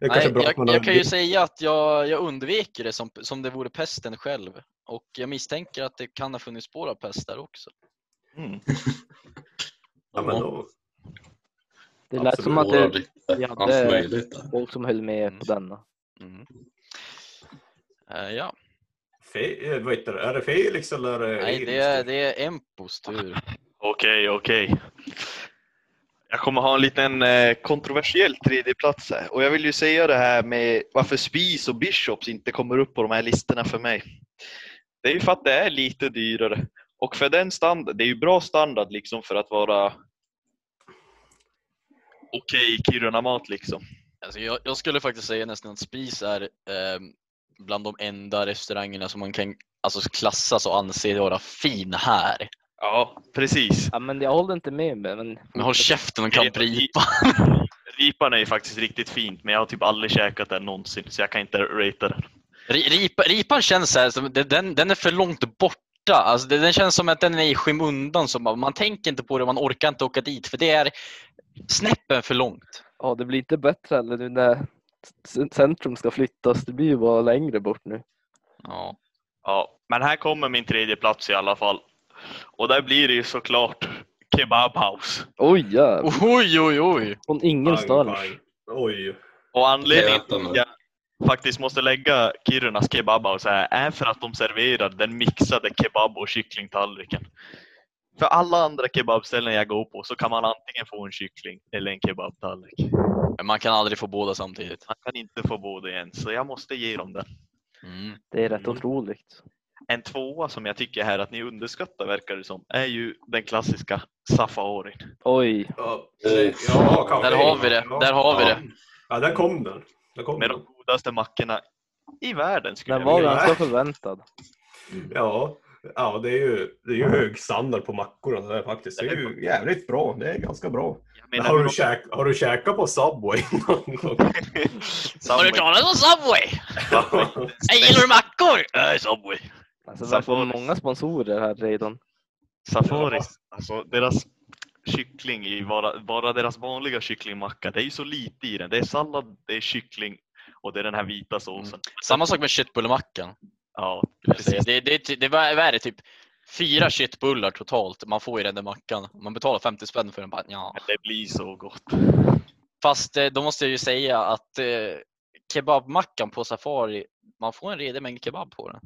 S3: det är kanske
S1: Nej,
S3: är bra att
S1: jag,
S3: man
S1: jag kan ju
S3: har...
S1: säga att jag, jag undviker det som, som det vore pesten själv. Och jag misstänker att det kan ha funnits spår av pest där också.
S2: Mm.
S3: Ja, men då,
S4: Det lät som att
S5: Absolut.
S4: det
S5: Lite
S4: Ja,
S5: Allt
S4: det-
S5: möjligt där.
S4: folk som höll med på denna.
S1: Mm. Eh, ja.
S3: fe, eh, vad heter det? Är det Felix eller? är
S1: Nej, det är, det är Empos tur.
S2: Okej, okej. Jag kommer ha en liten eh, kontroversiell tredjeplats här. Och jag vill ju säga det här med varför Spies och Bishops inte kommer upp på de här listorna för mig. Det är ju för att det är lite dyrare. Och för den standard, det är ju bra standard liksom för att vara okej Kiruna-mat liksom.
S1: Alltså, jag, jag skulle faktiskt säga nästan att Spis är eh, bland de enda restaurangerna som man kan alltså, klassas och anse vara fin här.
S2: Ja, precis.
S4: Ja, men jag håller inte med. Men, men
S1: Men håll käften och kan ripa.
S2: Ripan är ju faktiskt riktigt fint, men jag har typ aldrig käkat den någonsin, så jag kan inte ratea den.
S1: Ri- Ripa, ripan känns så här, som- det- den, den är för långt borta. Alltså, det- den känns som att den är i skymundan. Som man, man tänker inte på det, man orkar inte åka dit för det är snäppen för långt.
S4: ja, det blir inte bättre heller nu när c- centrum ska flyttas. Det blir ju bara längre bort nu.
S1: Ja.
S2: Ja, men här kommer min tredje plats i alla fall. Och där blir det ju såklart Kebabhouse.
S4: Oj, jävlar.
S1: Oj, oj, oj.
S4: Från
S3: Bang,
S4: ingenstans.
S3: bang. Oj.
S2: Och anledningen
S5: Okej,
S2: till
S5: vänta
S2: att
S5: nu.
S2: jag faktiskt måste lägga Kirunas Kebabhouse här är för att de serverar den mixade kebab och kycklingtallriken. För alla andra kebabställen jag går på så kan man antingen få en kyckling eller en kebabtallrik.
S1: Men man kan aldrig få båda samtidigt.
S2: Man kan inte få både igen, så jag måste ge dem den.
S1: Mm.
S4: Det är rätt
S2: Mm.
S4: otroligt.
S2: En tvåa som jag tycker här att ni underskattar verkar det som, är ju den klassiska safarin.
S4: Oj,
S3: Ja,
S5: Åh.
S3: ja, kanske.
S1: Där har vi det. Där har vi
S5: Ja.
S1: det.
S3: Ja, där kom den. Där kom
S2: Med
S3: den.
S2: de godaste mackorna i världen skulle
S4: den
S2: jag
S4: var
S2: vilja
S3: det?
S4: ganska förväntad.
S3: Ja, ja det, är ju, det är ju hög standard på mackorna det där faktiskt. Det är ju jävligt bra. Det är ganska bra.
S2: Jag
S3: Men
S2: menar,
S3: har,
S2: hur
S3: du käk, har du käkat på Subway någon gång?
S2: Subway-
S1: Har du talat om Subway?
S2: Subway.
S1: Jag gillar du mackor? Nej, Subway.
S4: Alltså, vi får
S2: Safaris.
S4: många sponsorer här redan.
S2: Safaris, alltså deras kyckling, i bara, bara deras vanliga kycklingmacka, det är ju så lite i den. Det är sallad, det är kyckling och det är den här vita såsen.
S1: Samma sak med köttbullemackan.
S2: Ja,
S1: skulle Mm. jag
S2: precis.
S1: säga. Det, det, det, det var- vad är det typ fyra köttbullar totalt man får i den där mackan. Man betalar 50 spänn för den. Bara, ja.
S2: Det blir så gott.
S1: Fast eh, då måste jag ju säga att eh, kebabmackan på Safari, man får en redig mängd kebab på den.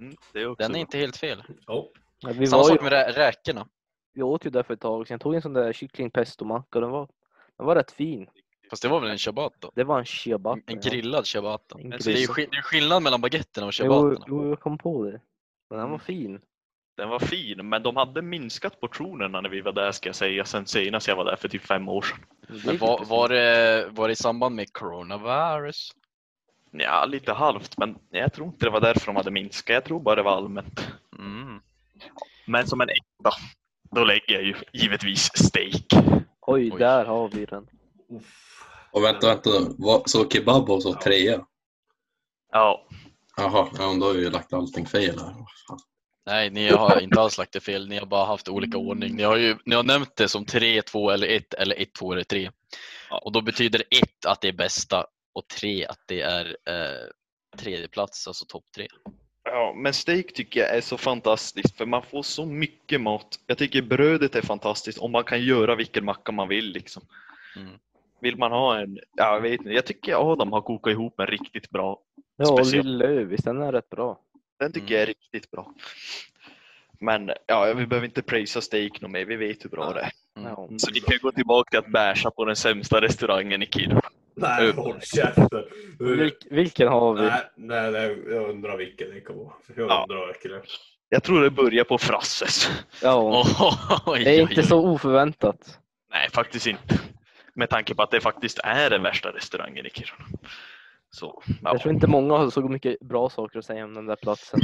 S2: Mm, det är också
S1: Den är
S2: gott.
S1: inte helt fel.
S3: Ja.
S4: Ja, Vi,
S1: Samma
S4: var ju,
S1: sak med rä- räkorna.
S4: vi åt ju där för ett tag sedan. Jag tog en sån där kycklingpestomacka. Den var, den var rätt fin.
S1: Fast det var väl en ciabatta?
S4: Det var en ciabatta.
S1: En
S4: ja.
S1: grillad ciabatta.
S4: En
S1: Så det är ju
S4: grill.
S1: skill- det är skillnad mellan baguetterna och
S4: Jo,
S1: ciabatterna.
S4: jo, jag kom på det. Men den var fin.
S2: Den var fin, men de hade minskat portionerna när vi var där ska jag säga, sen senast jag var där för typ fem år sedan.
S4: Men det är
S1: Men var,
S4: lite
S1: var, det, var det i samband med coronavirus?
S2: Ja, lite halvt, men jag tror inte det var därför de hade minskat. Jag tror bara det var allmänt.
S1: Mm.
S2: Men som en etta, då lägger jag ju givetvis steak.
S4: Oj,
S1: Oj.
S4: där har vi den.
S3: Uff.
S5: Och vänta, vänta. Vad, så kebab och så
S3: Ja.
S5: trea?
S2: Ja,
S5: Jaha, ja, men då har vi ju lagt allting fel här. Vad fan.
S1: Nej, ni har inte alls lagt det fel. Ni har bara haft olika ordning. Ni har, ju, ni har nämnt det som 3, 2 eller 1 eller 1, 2 eller 3.
S2: Ja.
S1: Och då betyder 1 att det är bästa och 3 att det är eh, tredje plats, alltså topp 3.
S2: Ja, men steak tycker jag är så fantastiskt för man får så mycket mat. Jag tycker brödet är fantastiskt och man kan göra vilken macka man vill liksom.
S1: Mm.
S2: Vill man ha en, ja, jag vet inte, jag tycker Adam har kokat ihop en riktigt bra.
S4: Ja, och
S2: Speciellt.
S4: Lilla Övis, den är rätt bra.
S2: Den tycker
S1: Mm.
S2: jag är riktigt bra. Men ja, vi behöver inte prisa steak något mer, vi vet hur bra det är.
S1: Mm.
S4: Ja.
S2: Så vi kan gå tillbaka till att bärsa på den sämsta restaurangen i Kiruna.
S3: Nej, håll käften.
S4: Vilk, vilken har vi?
S3: Nej, nej, nej, jag undrar vilken det kan vara. Jag
S2: Ja.
S3: undrar verkligen.
S2: Jag tror det börjar på Frasses.
S4: Ja, det är inte så oförväntat.
S2: Nej, faktiskt inte. Med tanke på att det faktiskt är den värsta restaurangen i Kiruna. Så, ja.
S4: Jag tror inte många har så mycket bra saker att säga om den där platsen.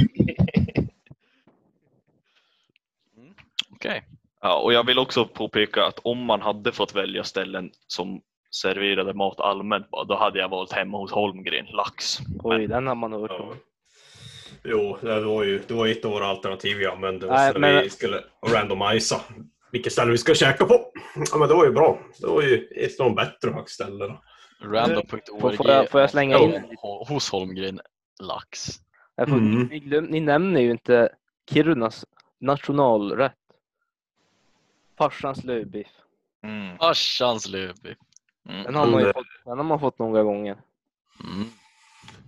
S1: Okej.
S2: Ja, och jag vill också påpeka att om man hade fått välja ställen som serverade mat allmänt, bara, då hade jag valt hemma hos Holmgren, lax.
S4: Oj, den har man hört om.
S3: Ja. Jo, det var ju det var ett av våra alternativ vi använde
S4: Nej,
S3: oss när
S4: men-
S3: vi skulle randomisa vilket ställe vi ska käka på. Ja, men det var ju bra. Det var ju ett av de bättre högställena.
S1: Random.org.
S4: Får jag- får jag slänga in-
S1: Hos Holmgren, lax.
S4: Jag får-
S5: Mm.
S4: ni, glöm, ni nämner ju inte Kirunas nationalrätt. Farsans lövbiff.
S2: Mm.
S1: Farsans Löfby.
S4: Den har, man ju
S3: Mm.
S4: fått, den har man fått några gånger.
S1: Mm.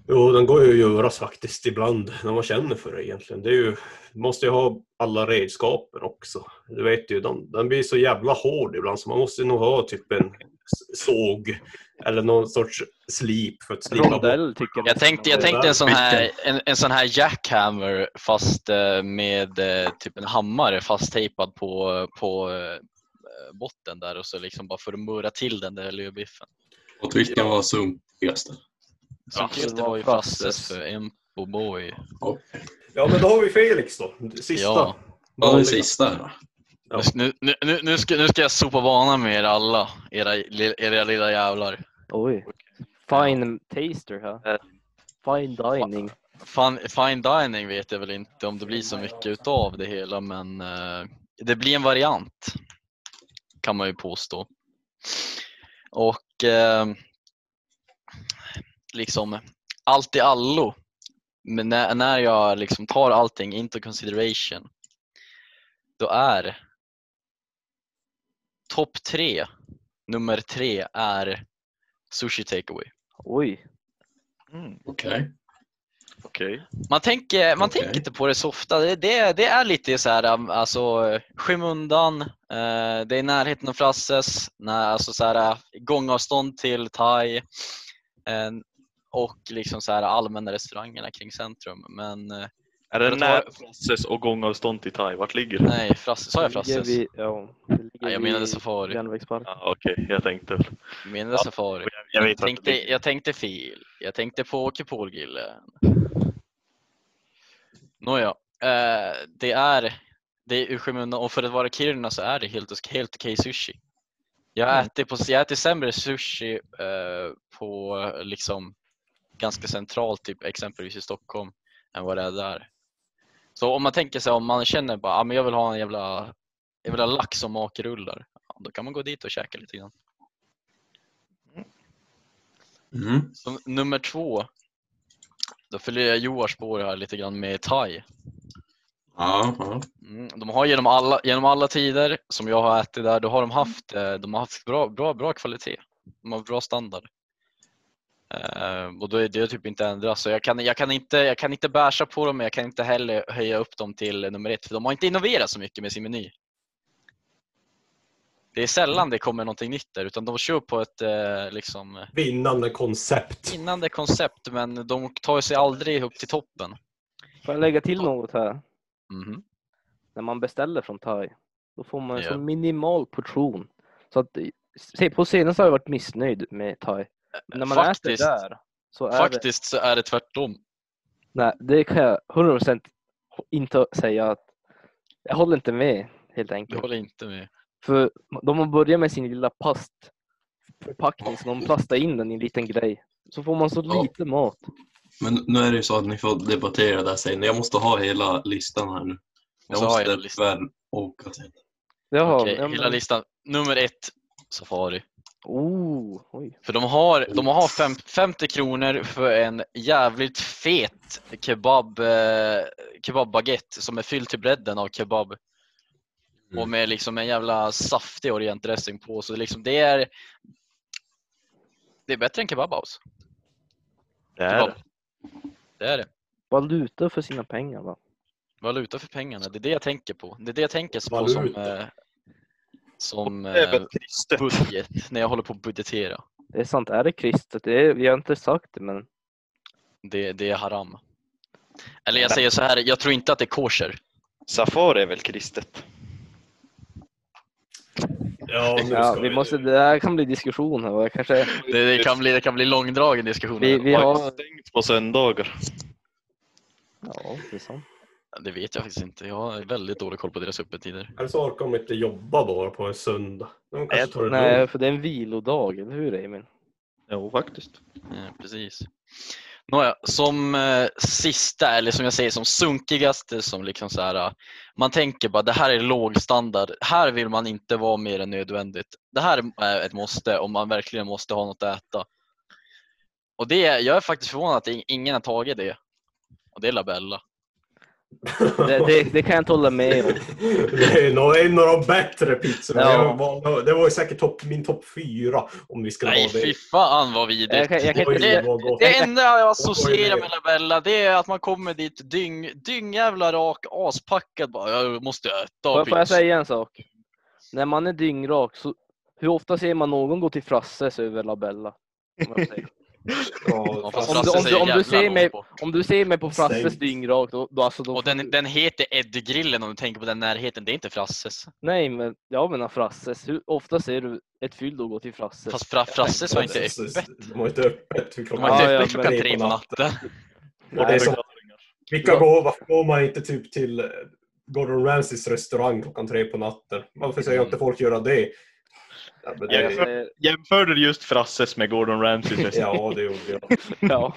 S3: Jo, den går ju att göras faktiskt ibland när man känner för det egentligen. Det är ju, man måste ju ha alla redskapen också. Du vet ju, den, den blir så jävla hård ibland så man måste nog ha typ en s- såg eller någon sorts slip för att slipa bort.
S4: Rondell tycker
S1: Jag tänkte, jag tänkte en, sån här, en, en sån här jackhammer fast eh, med eh, typ en hammare fasttejpad på, på eh, botten där och så liksom bara för att murra till den där lövbiffen.
S5: Och vilken var sunkigaste?
S1: Som
S4: Ja,
S1: det
S4: det
S1: var
S4: var
S1: ju
S4: Fasses.
S1: Fasses för Empo Boy.
S3: Ja, men då har vi Felix då. Sista.
S1: Ja.
S5: Ja, den sista. här då.
S3: Ja.
S1: Nu, nu, nu, nu, ska, nu ska jag sopa banan med er alla, era, li- era lilla jävlar.
S4: Oj. Fine taster
S1: Eh.
S4: här. Fine dining.
S1: Fan, fine dining vet jag väl inte om det blir så mycket utav det hela men eh, det blir en variant kan man ju påstå. Och eh, liksom allt i allo, men när, när jag liksom tar allting into consideration då är topp tre, nummer tre är sushi takeaway.
S4: Oj.
S2: Mm.
S5: Okej.
S2: Okej.
S1: Man tänker, man
S5: Okej.
S1: tänker inte på det så ofta. Det, det, det är lite så här, um, alltså, eh, skymundan, eh, det är närheten av Frasses, när, alltså, så här, eh, gångavstånd till Thai eh, och liksom så här, allmänna restaurangerna kring centrum. Men eh, För
S2: Är det
S1: att ta-
S2: nära Frasses och gångavstånd till Thai? Vart ligger det?
S1: nej, Frasse, sa jag
S4: Det ligger
S1: Frasses?
S4: vid- Ja, det ligger
S1: Nej, jag
S4: vid
S1: menade Safari.
S4: Järnvägsparken.
S2: Ja, Okej, jag tänkte väl.
S1: Jag menade Safari.
S2: Jag, jag
S1: Jag
S2: vet vart det
S1: tänkte,
S2: ligger.
S1: jag tänkte fil. Jag tänkte på kupolgrillen. Nåja, eh, det är, det är ur skymundan och för att vara Kiruna så är det helt, helt okej sushi. Jag
S4: Mm.
S1: äter, på, jag äter sämre sushi eh, på liksom ganska centralt, typ, exempelvis i Stockholm, än vad det är där. Så om man tänker sig om man känner bara, ah, men jag vill ha en jävla, jag vill ha lax och makrullar. Ja, då kan man gå dit och käka lite grann.
S5: Mm.
S1: Som nummer två. Då följer jag Johars spår här lite grann med thai.
S5: Ja, ja.
S1: Mm. De har genom alla, genom alla tider som jag har ätit där, då har de haft, eh, de har haft bra, bra, bra kvalitet. De har bra standard. Eh, och då är det typ inte ändras. Så jag kan, jag kan inte, jag kan inte bärsa på dem, men jag kan inte heller höja upp dem till nummer ett. För de har inte innoverat så mycket med sin meny. Det är sällan det kommer någonting nytt där, utan de kör på ett eh, liksom,
S3: Vinnande koncept.
S1: vinnande koncept men de tar sig aldrig upp till toppen.
S4: Får jag lägga till något här?
S1: Mhm.
S4: När man beställer från Thai, då får man en
S1: Ja.
S4: så minimal portion. Så att, se, på senast har jag varit missnöjd med Thai. Men när man
S1: Faktiskt,
S4: äter där så är det
S1: faktiskt så är det tvärtom.
S4: Nej, det kan jag 100% inte säga att Jag håller inte med helt enkelt.
S1: Jag håller inte med.
S4: För de har börjat med sin lilla plastförpackning, så de plastar in den i en liten grej. Så får man så
S5: Ja.
S4: lite mat.
S5: Men nu är det ju så att ni får debattera där sen. Jag måste ha hela listan här nu. Jag
S1: Så har jag en
S5: måste
S1: lista.
S5: tyvärr åka sen.
S4: Jaha,
S1: Okej,
S4: ja, men-
S1: hela listan. Nummer ett, Safari.
S4: Oh, oj.
S1: För de har, de har fem, 50 kronor för en jävligt fet kebab, eh, kebabbaguette som är fylld till bredden av kebab.
S5: Mm.
S1: Och med liksom en jävla saftig orientdressing på. Så liksom det är det är bättre än kebabhouse.
S2: Det är det.
S1: Det är det.
S4: Valuta för sina pengar va?
S1: Valuta för pengarna, det är det jag tänker på. Det är det jag tänker på som,
S3: Valuta.
S1: eh, som
S2: Det är
S1: eh,
S2: väl kristet.
S1: budget, när jag håller på att budgetera.
S4: Det är sant, är det kristet? Det är, vi har inte sagt det men
S1: Det, det är haram. Eller jag säger så här, jag tror inte att det är kosher.
S2: Safari är väl kristet?
S3: Ja, nu
S4: ja,
S3: ska
S4: vi måste, det här kan bli diskussion här. va? Jag kanske,
S1: Det, det, kan, bli, det kan bli långdragen diskussion.
S4: vi, vi
S2: Har ju
S4: har...
S2: stängt på söndagar.
S4: Ja, det är sant.
S1: Det vet jag faktiskt inte. Jag har väldigt dålig koll på deras öppettider.
S3: Eller så orkar de inte jobba bara på en söndag. De
S2: Nej,
S3: kanske tar det
S4: Nej,
S3: lugnt.
S4: för det är en vilodag, eller hur Emil?
S2: Jo, faktiskt.
S1: Eh, precis. Nåja, som eh, sista, eller som jag säger som sunkigaste, som liksom så här, eh, man tänker bara det här är låg standard. Här vill man inte vara mer än nödvändigt. Det här är ett måste om man verkligen måste ha något att äta. Och det, är- jag är faktiskt förvånad att i- ingen har tagit det. Och det är Labella.
S4: Det, det, det kan jag inte hålla med om.
S3: Det är nog en av de bättre pizzorna.
S4: Ja.
S3: Jag valde- Det var ju säkert topp, min topp fyra om vi skulle
S1: Nej
S3: ha det.
S1: fy fan vad vidrigt.
S4: Jag kan, jag kan
S3: Oj,
S4: inte säga...
S3: det var gott.
S1: Det enda jag associerar
S3: Oj,
S1: med Labella det är att man kommer dit dyng, dyngjävla rak, aspackad bara. Jag måste äta
S4: Får, får jag
S1: pizza."
S4: säga en sak? När man är dyngrak, så, hur ofta ser man någon gå till Frasses över Labella? Om jag säger.
S1: Ja,
S3: fast-
S1: fast
S4: om du-
S1: Frasse
S4: om du-
S1: säger
S4: om du
S1: jävla
S4: ser
S1: långt
S4: mig-
S1: bort.
S4: Om du ser mig på Frasses
S3: Stängt.
S4: dyngrak, då, då alltså... Då
S1: Och den, den heter Eddygrillen om du tänker på den närheten. Det är inte Frasses.
S4: Nej, men jag menar Frasses. Hur ofta ser du ett fyllo gå till Frasses?
S1: Fast fra, Frasses var inte öppet.
S3: De var inte öppet.
S1: De
S4: Ja,
S1: var inte
S4: ja,
S1: öppet klockan
S4: men-
S1: tre på natten.
S3: Och det är som, vilka
S4: Ja.
S3: går, varför går man inte typ till eh, Gordon Ramsays restaurang klockan tre på natten? Varför
S1: Mm.
S3: säger inte folk göra det? Ja, men
S4: Jag
S3: det,
S4: säger-
S2: Jämförde du just Frasses med Gordon Ramsays?
S3: ja det gjorde jag.
S4: Ja.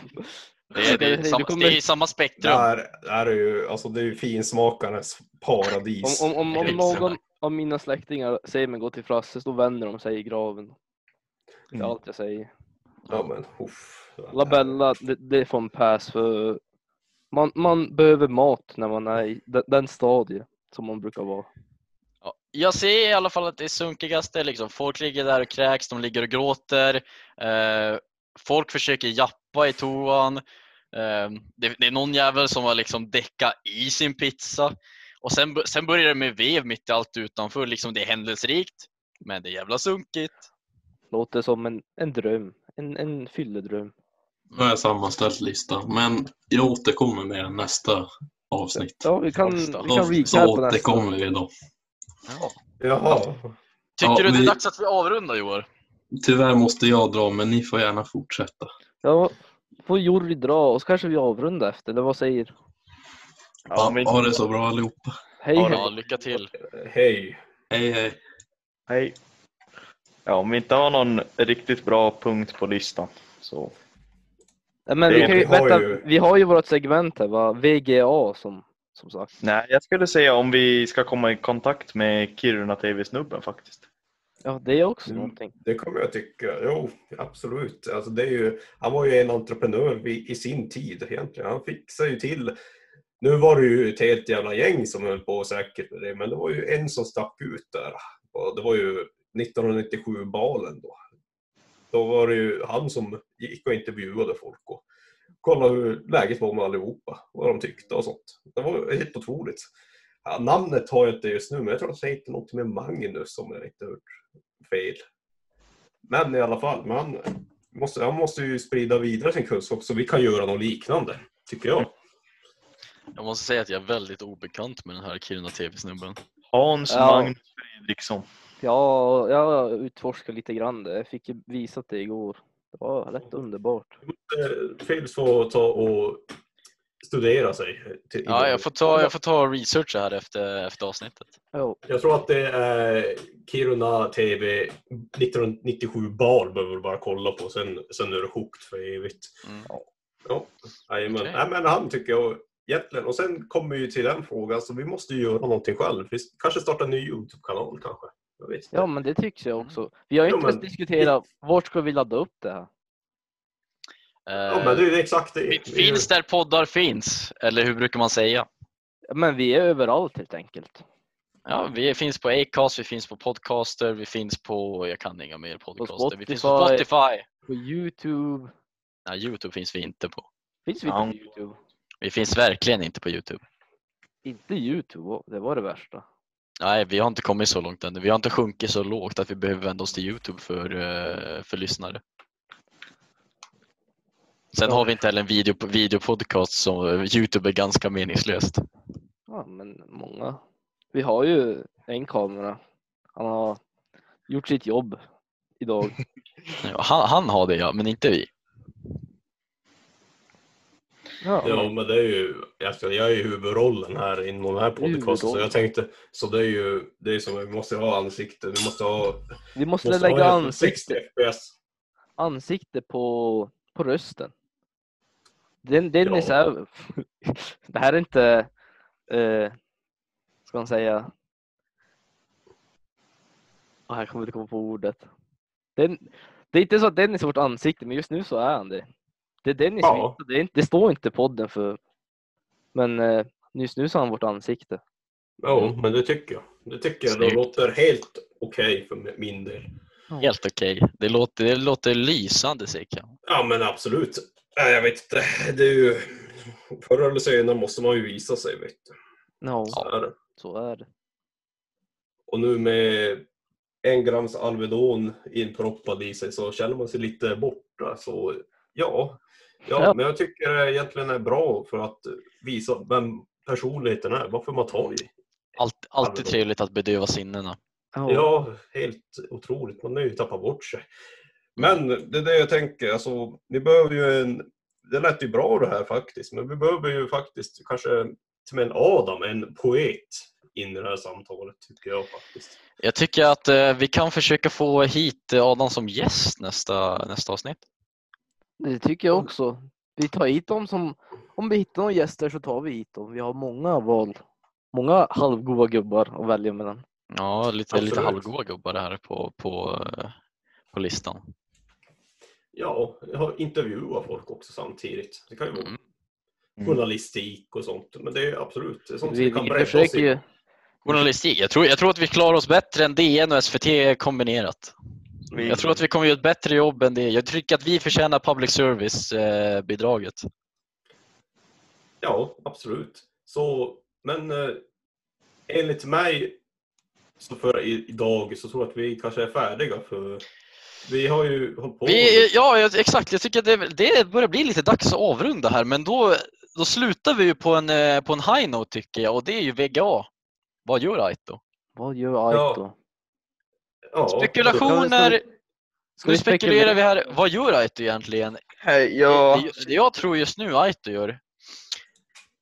S1: Det är, det är, samma,
S4: kommer-
S1: det är samma spektrum.
S3: Där, där är ju, alltså det är ju finsmakarnas paradis.
S4: Om, om, om, om
S1: Exakt.
S4: någon av mina släktingar säger mig gå till Frasses, då vänder de sig i graven. Det är
S2: Mm.
S4: allt jag säger.
S3: Ja, men, uff.
S4: Labella, det, det får en pass för man, man behöver mat när man är i den, den stadie som man brukar vara.
S1: Ja, Jag ser i alla fall att det är sunkigaste. Liksom. Folk ligger där och kräks, de ligger och gråter. Eh, folk försöker jappa i toan. Eh, det, det är någon jävel som har liksom däckat i sin pizza. Och sen, bör- sen börjar det med vev mitt i allt utanför. Liksom, det är händelserikt, men det är jävla sunkigt.
S4: Låter som en, en dröm. En, en fylledröm.
S5: Nu har jag sammanställt listan, men jag återkommer med den nästa avsnitt.
S4: Ja, vi kan, vi
S1: Första.
S4: kan
S5: Då, så
S4: recapa nästa.
S5: återkommer vi då.
S3: Jaha.
S1: Tycker
S5: Ja,
S1: du det är
S5: vi-
S1: dags att vi avrundar Joar?
S5: Tyvärr måste jag dra, men ni får gärna fortsätta.
S4: Ja, får Jorri dra och så kanske vi avrundar efter, eller vad säger?
S5: Ha,
S2: Ja, men-
S5: ha det så bra allihopa.
S4: Hej,
S1: Ja,
S4: hej.
S1: då, lycka till.
S3: Hej.
S5: Hej hej.
S2: Hej. Ja, om vi inte har någon riktigt bra punkt på listan så...
S4: Nej, Men
S2: Det-
S4: vi, kan ju,
S3: vi har
S4: vänta,
S3: ju-
S4: vi har ju vårt segment här, va? VGA som, som sagt.
S2: Nej, jag skulle säga om vi ska komma i kontakt med Kiruna TV-snubben faktiskt.
S4: Ja, det är också
S3: Mm.
S4: någonting.
S3: Det kommer jag tycka. Jo, absolut. Alltså det är ju, han var ju en entreprenör vid, i sin tid egentligen. Han fixade ju till. Nu var det ju ett helt jävla gäng som höll på säkert med det, men det var ju en som stack ut där. Och det var ju 1997-balen då. Då var det ju han som gick och intervjuade folk och kollade hur läget var med allihopa, vad de tyckte och sånt. Det var helt otroligt. Ja, namnet har jag inte just nu, men jag tror att det heter något med Magnus om jag inte hört fel. Men i alla fall, man måste, han måste ju sprida vidare sin kunskap så vi kan göra något liknande, tycker jag.
S1: Jag måste säga att jag är väldigt obekant med den här Kiruna TV-snubben.
S2: Hans
S4: Ja.
S2: Magnus Fredriksson.
S4: Ja, jag utforskade lite grann det. Jag fick ju visat det igår. Det var rätt underbart.
S3: Eh, Fils får ta och studera sig. Till,
S1: Ja, jag får ta, jag får ta och researcha här efter, efter avsnittet.
S4: Jo,
S3: Jag tror att det är Kiruna TV 1997 bar behöver du bara kolla på, sen, sen är du hooked för evigt.
S1: Mm.
S3: Ja, jajamän.
S1: Okej.
S3: Nej, men han tycker jag egentligen. Och sen kommer vi ju till den frågan, så vi måste ju göra någonting själv. Vi kanske starta en ny YouTube-kanal kanske. Jag vet inte.
S4: ja men det tycks jag också. Vi har ju
S3: Jo,
S4: inte
S3: men-
S4: ens diskuterat vart ska vi ladda upp det här?
S3: ja, men det är ju exakt det.
S1: Eh, Fin-
S3: Vi-
S1: Finns där poddar finns, eller hur brukar man säga?
S4: Men vi är överallt helt enkelt.
S1: Ja, vi finns på Acast, vi finns på Podcaster, vi finns på, jag kan inga mer podcaster, vi finns på
S4: Spotify.
S1: Spotify.
S4: På Youtube.
S1: Nej, Youtube finns vi inte på.
S4: Finns vi
S2: Ja.
S4: inte på Youtube?
S1: Vi finns verkligen inte på Youtube.
S4: Inte Youtube, åh, det var det värsta.
S1: Nej, vi har inte kommit så långt än. Vi har inte sjunkit så lågt att vi behöver vända oss till Youtube för, eh, för lyssnare. Sen har vi inte heller en video, videopodcast, så Youtube är ganska meningslöst.
S4: Ja, men många. Vi har ju en kamera. Han har gjort sitt jobb idag.
S1: Han, han har det ja, men inte vi.
S4: Ja,
S3: Ja, men det är ju, jag ska- jag är ju huvudrollen här inom den här podcasten, så
S4: Huvudrollen.
S3: jag tänkte, så det är ju, det är som, vi måste ha ansikte, vi måste ha,
S4: vi måste,
S3: måste
S4: lägga
S3: ha ett
S4: ansikte,
S3: 60 fps.
S4: ansikte på, på rösten. Den, den är
S3: Ja.
S4: så här, det här är inte, eh, ska man säga, oh, här kommer jag inte komma på ordet. Den, det är inte så att Dennis är vårt ansikte, men just nu så är han det. Det är Dennis
S3: Ja.
S4: vi inte- det, är inte, det står inte podden för. Men eh, just nu så är han vårt ansikte.
S3: Ja, men det tycker jag. Det tycker jag, det
S1: Snyggt.
S3: låter helt okej för min del.
S1: Helt okej. Det, låter, det låter lysande Sickan.
S3: Ja, men absolut. Nej, jag vet inte, det är ju, förr eller senare måste man ju visa sig, vet du.
S4: No,
S3: Så är det.
S4: så är det.
S3: Och nu med en grams Alvedon inproppad i sig så känner man sig lite borta. Så ja, ja,
S4: Ja.
S3: men jag tycker det egentligen är bra för att visa vem personligheten är, varför man tar i.
S1: Allt, alltid
S3: Alvedon.
S1: trevligt att bedöva sinnena.
S4: Ja.
S3: Ja, helt otroligt. Man har ju tappat bort sig. Men det är det jag tänker, alltså, vi behöver ju en... Det lät ju bra det här faktiskt, men vi behöver ju faktiskt kanske till och med en Adam, en poet, in i det här samtalet tycker jag faktiskt.
S1: Jag tycker att eh, vi kan försöka få hit eh, Adam som gäst nästa, nästa avsnitt.
S4: Det tycker jag också. Vi tar hit dem som, om vi hittar några gäster så tar vi hit dem. Vi har många val, många halvgoda gubbar att välja mellan.
S1: Ja, lite, lite
S3: Absolut.
S1: halvgoa gubbar här på, på, eh, på listan.
S3: Ja, jag har intervjuat folk också samtidigt. Det kan ju vara
S1: Mm.
S3: journalistik och sånt. Men det är absolut det är sånt som
S4: Vi,
S3: vi kan
S4: vi
S3: bredda oss
S4: försöker
S3: i.
S4: ju,
S1: Journalistik. Jag tror, jag tror att vi klarar oss bättre än DN och SVT kombinerat.
S2: Vi-
S1: Jag tror att vi kommer göra ett bättre jobb än det. Jag tycker att vi förtjänar public service-bidraget.
S3: Ja, absolut. Så, men eh, enligt mig så för i- idag så tror jag att vi kanske är färdiga för vi har ju hållit på.
S1: Vi, ja, jag- exakt. Jag tycker att det, det börjar bli lite dags att avrunda här, men då, då slutar vi ju på en, eh, på en high note tycker jag och det är ju VGA. Vad gör Aito?
S4: vad gör Aito?
S3: ja,
S1: Spekulationer.
S4: Ska
S1: Nu
S4: vi
S1: spekulerar
S4: spekulera?
S1: vi här. Vad gör Aito egentligen?
S2: Ja,
S1: Det, det jag tror just nu Aito gör,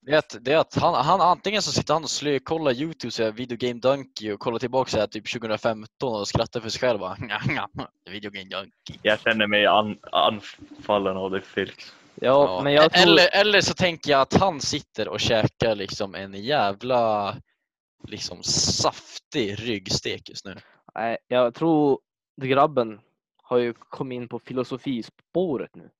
S1: det är att, det är att han, han antingen så sitter han och slökollar YouTube, så här, Video Game Donkey och kollar tillbaka så här, typ 2015 och skrattar för sig själv. va? Video Game Donkey.
S2: jag känner mig an, anfallen av det Felix.
S4: Ja,
S1: Ja,
S4: men jag tror,
S1: eller, eller så tänker jag att han sitter och käkar liksom en jävla liksom saftig ryggstek just nu.
S4: nej, jag tror grabben har ju kommit in på filosofispåret nu.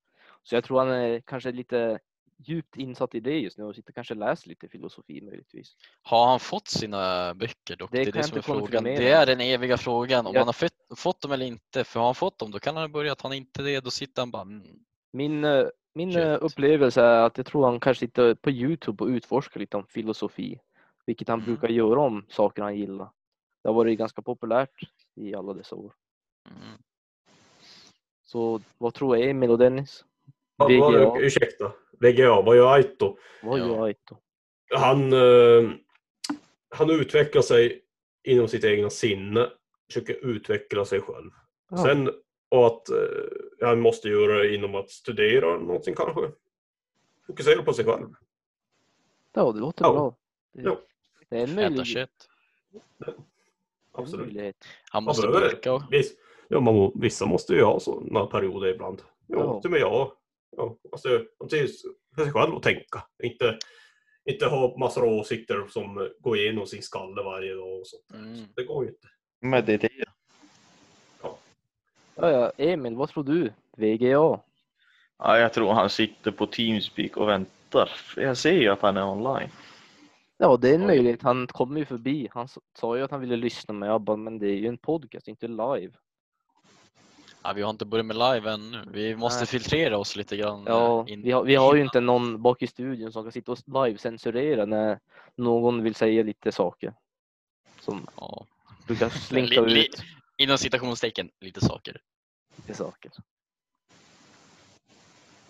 S4: Så jag tror han är kanske lite djupt insatt i det just nu och sitter kanske och läser lite filosofi möjligtvis.
S1: Har han fått sina böcker dock?
S4: Det
S1: Det, är
S4: kan
S1: det
S4: jag
S1: som är
S4: inte
S1: frågan.
S4: konfirmera.
S1: Det är den eviga frågan om
S4: Jag-
S1: han har fått, fått dem eller inte. För har han fått dem då kan han börja. Att han inte det då sitter han bara mm.
S4: Min, eh, min eh,
S1: Shit.
S4: upplevelse är att jag tror han kanske sitter på Youtube och utforskar lite om filosofi. Vilket han
S1: Mm.
S4: brukar göra om saker han gillar. Det har varit ganska populärt i alla dessa år.
S1: mm.
S4: Så vad tror Emil och Dennis?
S3: Vad- vad-
S4: VGA,
S3: Ursäkta, VGA, vad gör Aito?
S4: vad
S1: Ja.
S4: gör Aito?
S3: han, eh, han utvecklar sig inom sitt egna sinne, försöker utveckla sig själv.
S4: Ja.
S3: Sen och att eh, han måste göra det inom att studera någonting kanske. Fokusera på sig själv.
S4: Ja, det låter
S3: Ja.
S4: bra. Det,
S3: Jo.
S4: det är en,
S1: Äta
S4: möjlig,
S1: kött.
S4: en
S3: Absolut.
S4: möjlighet.
S1: Han måste
S3: behöver det.
S1: orka. och-
S3: Visst. Ja, man, må- vissa måste ju ha sådana perioder ibland. Jo,
S4: Ja.
S3: till och med jag. Ja, alltså, man trivs för sig själv att tänka. Inte, inte ha massor av åsikter som går igenom sin skalle varje dag. Och sånt.
S1: Mm.
S3: Det går ju inte.
S2: Men det är det.
S4: Ja, ja, Emil, vad tror du? VGA?
S2: Ja, jag tror han sitter på Teamspeak och väntar. Jag ser ju att han är online.
S4: Ja, det är en
S2: Oj.
S4: möjlighet. Han kommer ju förbi. Han s- sa ju att han ville lyssna med ABBA, men det är ju en podcast, inte live.
S1: Ja, vi har inte börjat med live ännu. Vi måste
S4: Nej.
S1: filtrera oss lite grann.
S4: Ja,
S1: eh, in-
S4: vi har, vi har ju
S1: innan.
S4: inte någon bak i studion som kan sitta och live-censurera när någon vill säga lite saker. Som
S1: Ja.
S4: brukar slinka
S1: Li- li-
S4: ut
S1: Inom citationstecken, lite saker.
S4: lite saker.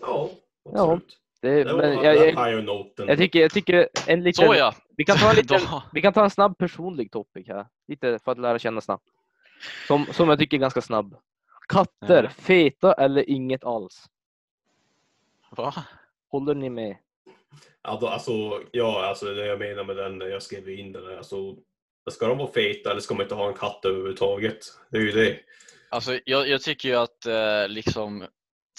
S3: Ja,
S4: Ja.
S3: absolut.
S4: Det,
S3: Det var
S4: Typ, men jag,
S3: den
S4: jag,
S3: higher noten.
S4: jag, tycker, jag tycker en liten...
S1: Såja!
S4: Vi kan ta en liten...
S1: Då-
S4: Vi kan ta en snabb personlig topic här. Lite för att lära känna snabbt. Som, som jag tycker är ganska snabb. Katter,
S1: Ja.
S4: feta eller inget alls?
S1: Va?
S4: Håller ni med?
S3: Alltså, alltså, ja, alltså det jag menar med den, jag skrev in den, här, alltså, ska de vara feta eller ska man inte ha en katt överhuvudtaget? Det är ju det.
S1: Alltså, jag, jag tycker ju att eh, liksom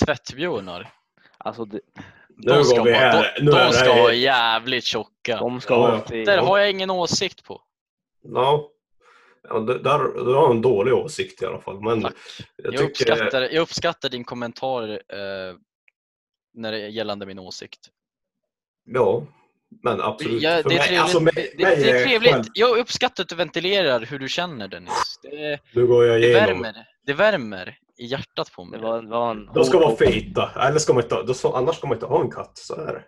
S1: tvättbjörnar,
S4: Alltså, de,
S3: Nu
S1: de ska,
S3: går vi
S1: vara,
S3: här.
S1: de,
S3: Nu är
S1: de
S3: det
S1: ska
S3: här-
S1: vara jävligt tjocka.
S4: de ska
S3: Ja,
S4: vara
S3: ja.
S1: Där
S4: feta.
S1: har jag ingen åsikt på.
S3: Ja. Ja, det, där, du har en dålig åsikt i alla fall. Men
S1: Tack.
S3: jag,
S1: Jag,
S3: tycker...
S1: uppskattar, jag uppskattar din kommentar eh, när det gällande min åsikt.
S3: Ja, men absolut.
S1: Ja,
S3: För
S1: det, är
S3: mig-
S1: trevligt,
S3: alltså, mig-
S1: det, det,
S3: mig
S1: det är
S3: själv-
S1: trevligt. Jag uppskattar att du ventilerar hur du känner Dennis. Det,
S3: Nu går jag
S1: det,
S3: igenom.
S1: värmer, det värmer i hjärtat på
S4: Det
S1: mig.
S4: var, en- var en oh,
S3: De ska
S4: hård
S3: vara
S4: topic.
S3: feta. Eller ska man inte, då, så- annars ska man inte ha en katt. Så är det.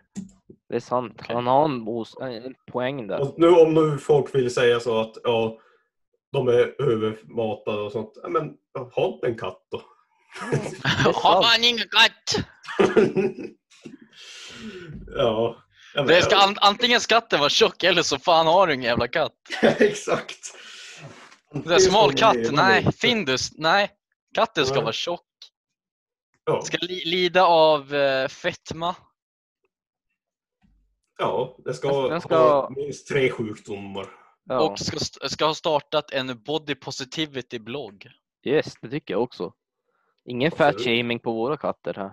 S4: Det är sant.
S1: Okej.
S4: Han har en, os- en poäng där.
S3: Och nu om nu folk vill säga så att ja, de är övermatade och sånt. Ja, men ja, ha inte en katt då.
S1: Har man ingen katt?
S3: ja. ja, men-
S1: Det ska, an- antingen skatten vara tjock eller så fan har du ingen jävla katt.
S3: Exakt.
S1: Det är smal
S3: ska man
S1: katt,
S3: leva
S1: nej.
S3: med.
S1: Findus, nej. Katten ska
S3: Nej.
S1: vara tjock.
S3: Ja,
S1: Ska li- lida av eh, fetma.
S3: ja, det ska,
S4: Den ska-
S3: ha minst tre sjukdomar.
S4: Ja.
S1: Och ska, st- ska ha startat en body positivity blogg.
S4: Yes, det tycker jag också. Ingen fat
S3: Absolut.
S4: shaming på våra katter här.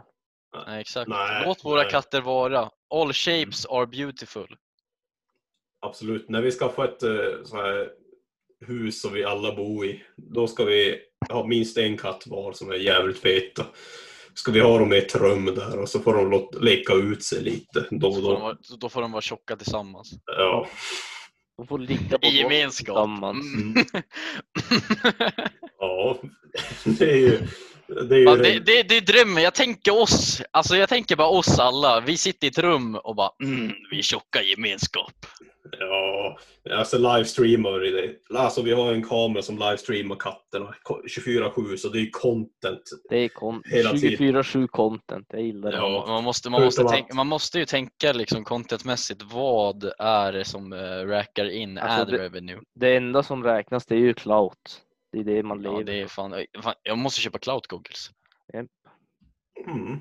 S1: Nej, exakt.
S3: Nej,
S1: Låt våra
S3: nej. Mm.
S1: katter vara. All shapes are beautiful.
S3: Absolut. När vi ska få ett eh, så här, hus som vi alla bor i, då ska vi ha minst en katt var som är jävligt feta. Ska vi ha dem i ett rum där och så får de låt, leka ut sig lite då
S1: Så
S3: och
S1: får
S3: då.
S1: de vara, så- då får de vara tjocka tillsammans.
S3: Ja.
S4: De får ligga på
S1: I
S4: golvet
S1: gemenskap.
S4: tillsammans.
S1: Mm.
S3: ja. det är ju... Det är ju
S1: Ja, det, det, det är drömmen. Jag tänker oss. Alltså jag tänker bara oss alla. Vi sitter i ett rum och bara mm, vi är tjocka i gemenskap.
S3: Ja, alltså livestreamar i det. Alltså vi har en kamera som livestreamar katterna 24-7 så det är ju content.
S4: Det är kon-
S3: Hela tiden.
S4: 24-7 content. Jag gillar det.
S3: Ja.
S1: Man- Man, måste, man, måste
S3: Förutom
S1: tänka, man måste ju tänka liksom contentmässigt. Vad är det som uh, räkar in
S4: Alltså,
S1: ad
S4: det-
S1: revenue?
S4: Det enda som räknas det är ju clout. Det är det man
S1: Ja,
S4: lever
S1: det är
S4: på.
S1: fan, fan, jag måste köpa cloud googles.
S3: Mm.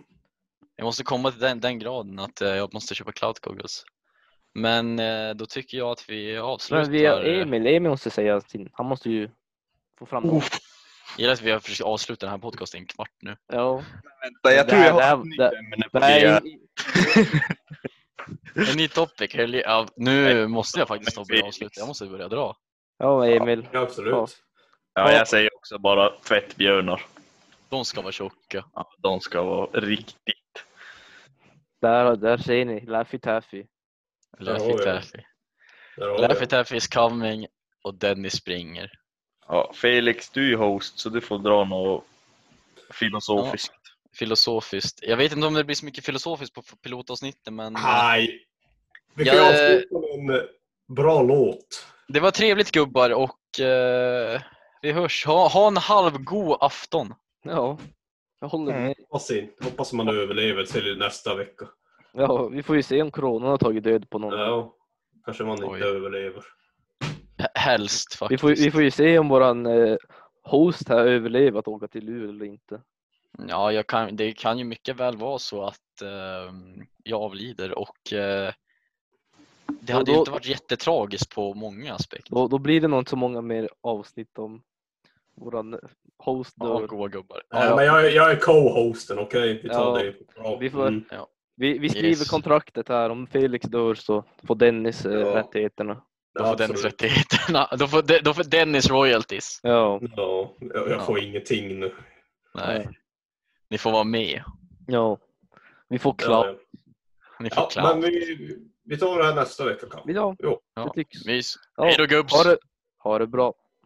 S1: Jag måste komma till den, den graden att eh, jag måste köpa cloud googles. Men eh, då tycker jag att vi avslutar. eh,
S4: Men vi har Emil. Emil måste säga sin. Han måste ju få fram något.
S1: Jag gillar att vi har försökt avsluta den här podcasten i en kvart nu.
S4: Ja.
S2: Vänta, jag
S4: Det
S2: tror
S4: här-
S2: jag
S4: det här-
S2: har ett nytt
S4: det-
S2: ämne på det.
S4: Nej,
S2: här.
S1: En ny topic. eller- Ja, nu måste jag faktiskt ta och börja avsluta. Jag måste börja dra.
S4: ja Emil.
S3: Ja, absolut.
S4: Ja.
S2: Ja, jag säger också bara tvättbjörnar.
S1: De ska vara tjocka.
S2: Ja, de ska vara riktigt...
S4: Där, där ser ni. Laffy Taffy.
S1: Laffy
S3: Ja, ja.
S1: Taffy.
S3: Där har
S1: Laffy
S3: vi det.
S1: Taffy is coming och Dennis springer.
S2: Ja, Felix, du är host så du får dra något filosofiskt.
S1: filosofiskt. Jag vet inte om det blir så mycket filosofiskt på pilotavsnittet men eh,
S3: Nej. Vi kan
S1: Jag-
S3: avsluta med en eh, bra låt.
S1: det var trevligt gubbar och eh, vi hörs. Ha, ha en halvgod afton.
S4: Ja. Jag håller
S2: Mm.
S4: med.
S3: Hoppas, in. Hoppas man överlever till nästa vecka.
S4: Ja, vi får ju se om coronan har tagit död på någon.
S3: Ja, kanske man inte
S1: Oj.
S3: överlever.
S1: H- Helst
S4: Vi
S1: faktiskt.
S4: får, vi får ju se om våran eh, host här överlever att åka till Luleå eller inte.
S1: Ja, jag kan, det kan ju ehm, mycket väl vara så att eh, jag avlider och eh, Det hade ju
S4: då-
S1: inte varit jättetragiskt på många aspekter.
S4: Då, då blir det nog inte så många mer avsnitt om våran eh, host.
S1: Ja,
S4: Då.
S1: goa gubbar.
S4: Ja,
S3: Nej,
S4: ja.
S3: men jag, jag är co-hosten, okej? Vi tar
S4: Ja,
S3: det. Bra.
S4: vi får-
S3: Mm.
S4: Vi, vi skriver
S1: Yes.
S4: kontraktet här. Om Felix dör så får Dennis eh,
S3: Ja.
S4: rättigheterna.
S1: Då får Dennis
S3: absolut.
S1: rättigheterna. Då får, De- då får Dennis royalties.
S4: Ja,
S3: Ja, jag, jag får ingenting nu.
S1: Nej. Ni får vara med.
S4: ja. Vi får clout.
S3: Ja,
S1: Ni får
S3: ja.
S1: clown.
S3: ja, men vi, vi tar det här nästa vecka kanske.
S4: Ja,
S3: Jo.
S4: det
S1: Ja.
S4: tycks.
S1: Mys.
S4: Ja.
S1: Hej då gubbs!
S4: Ha det, ha det bra.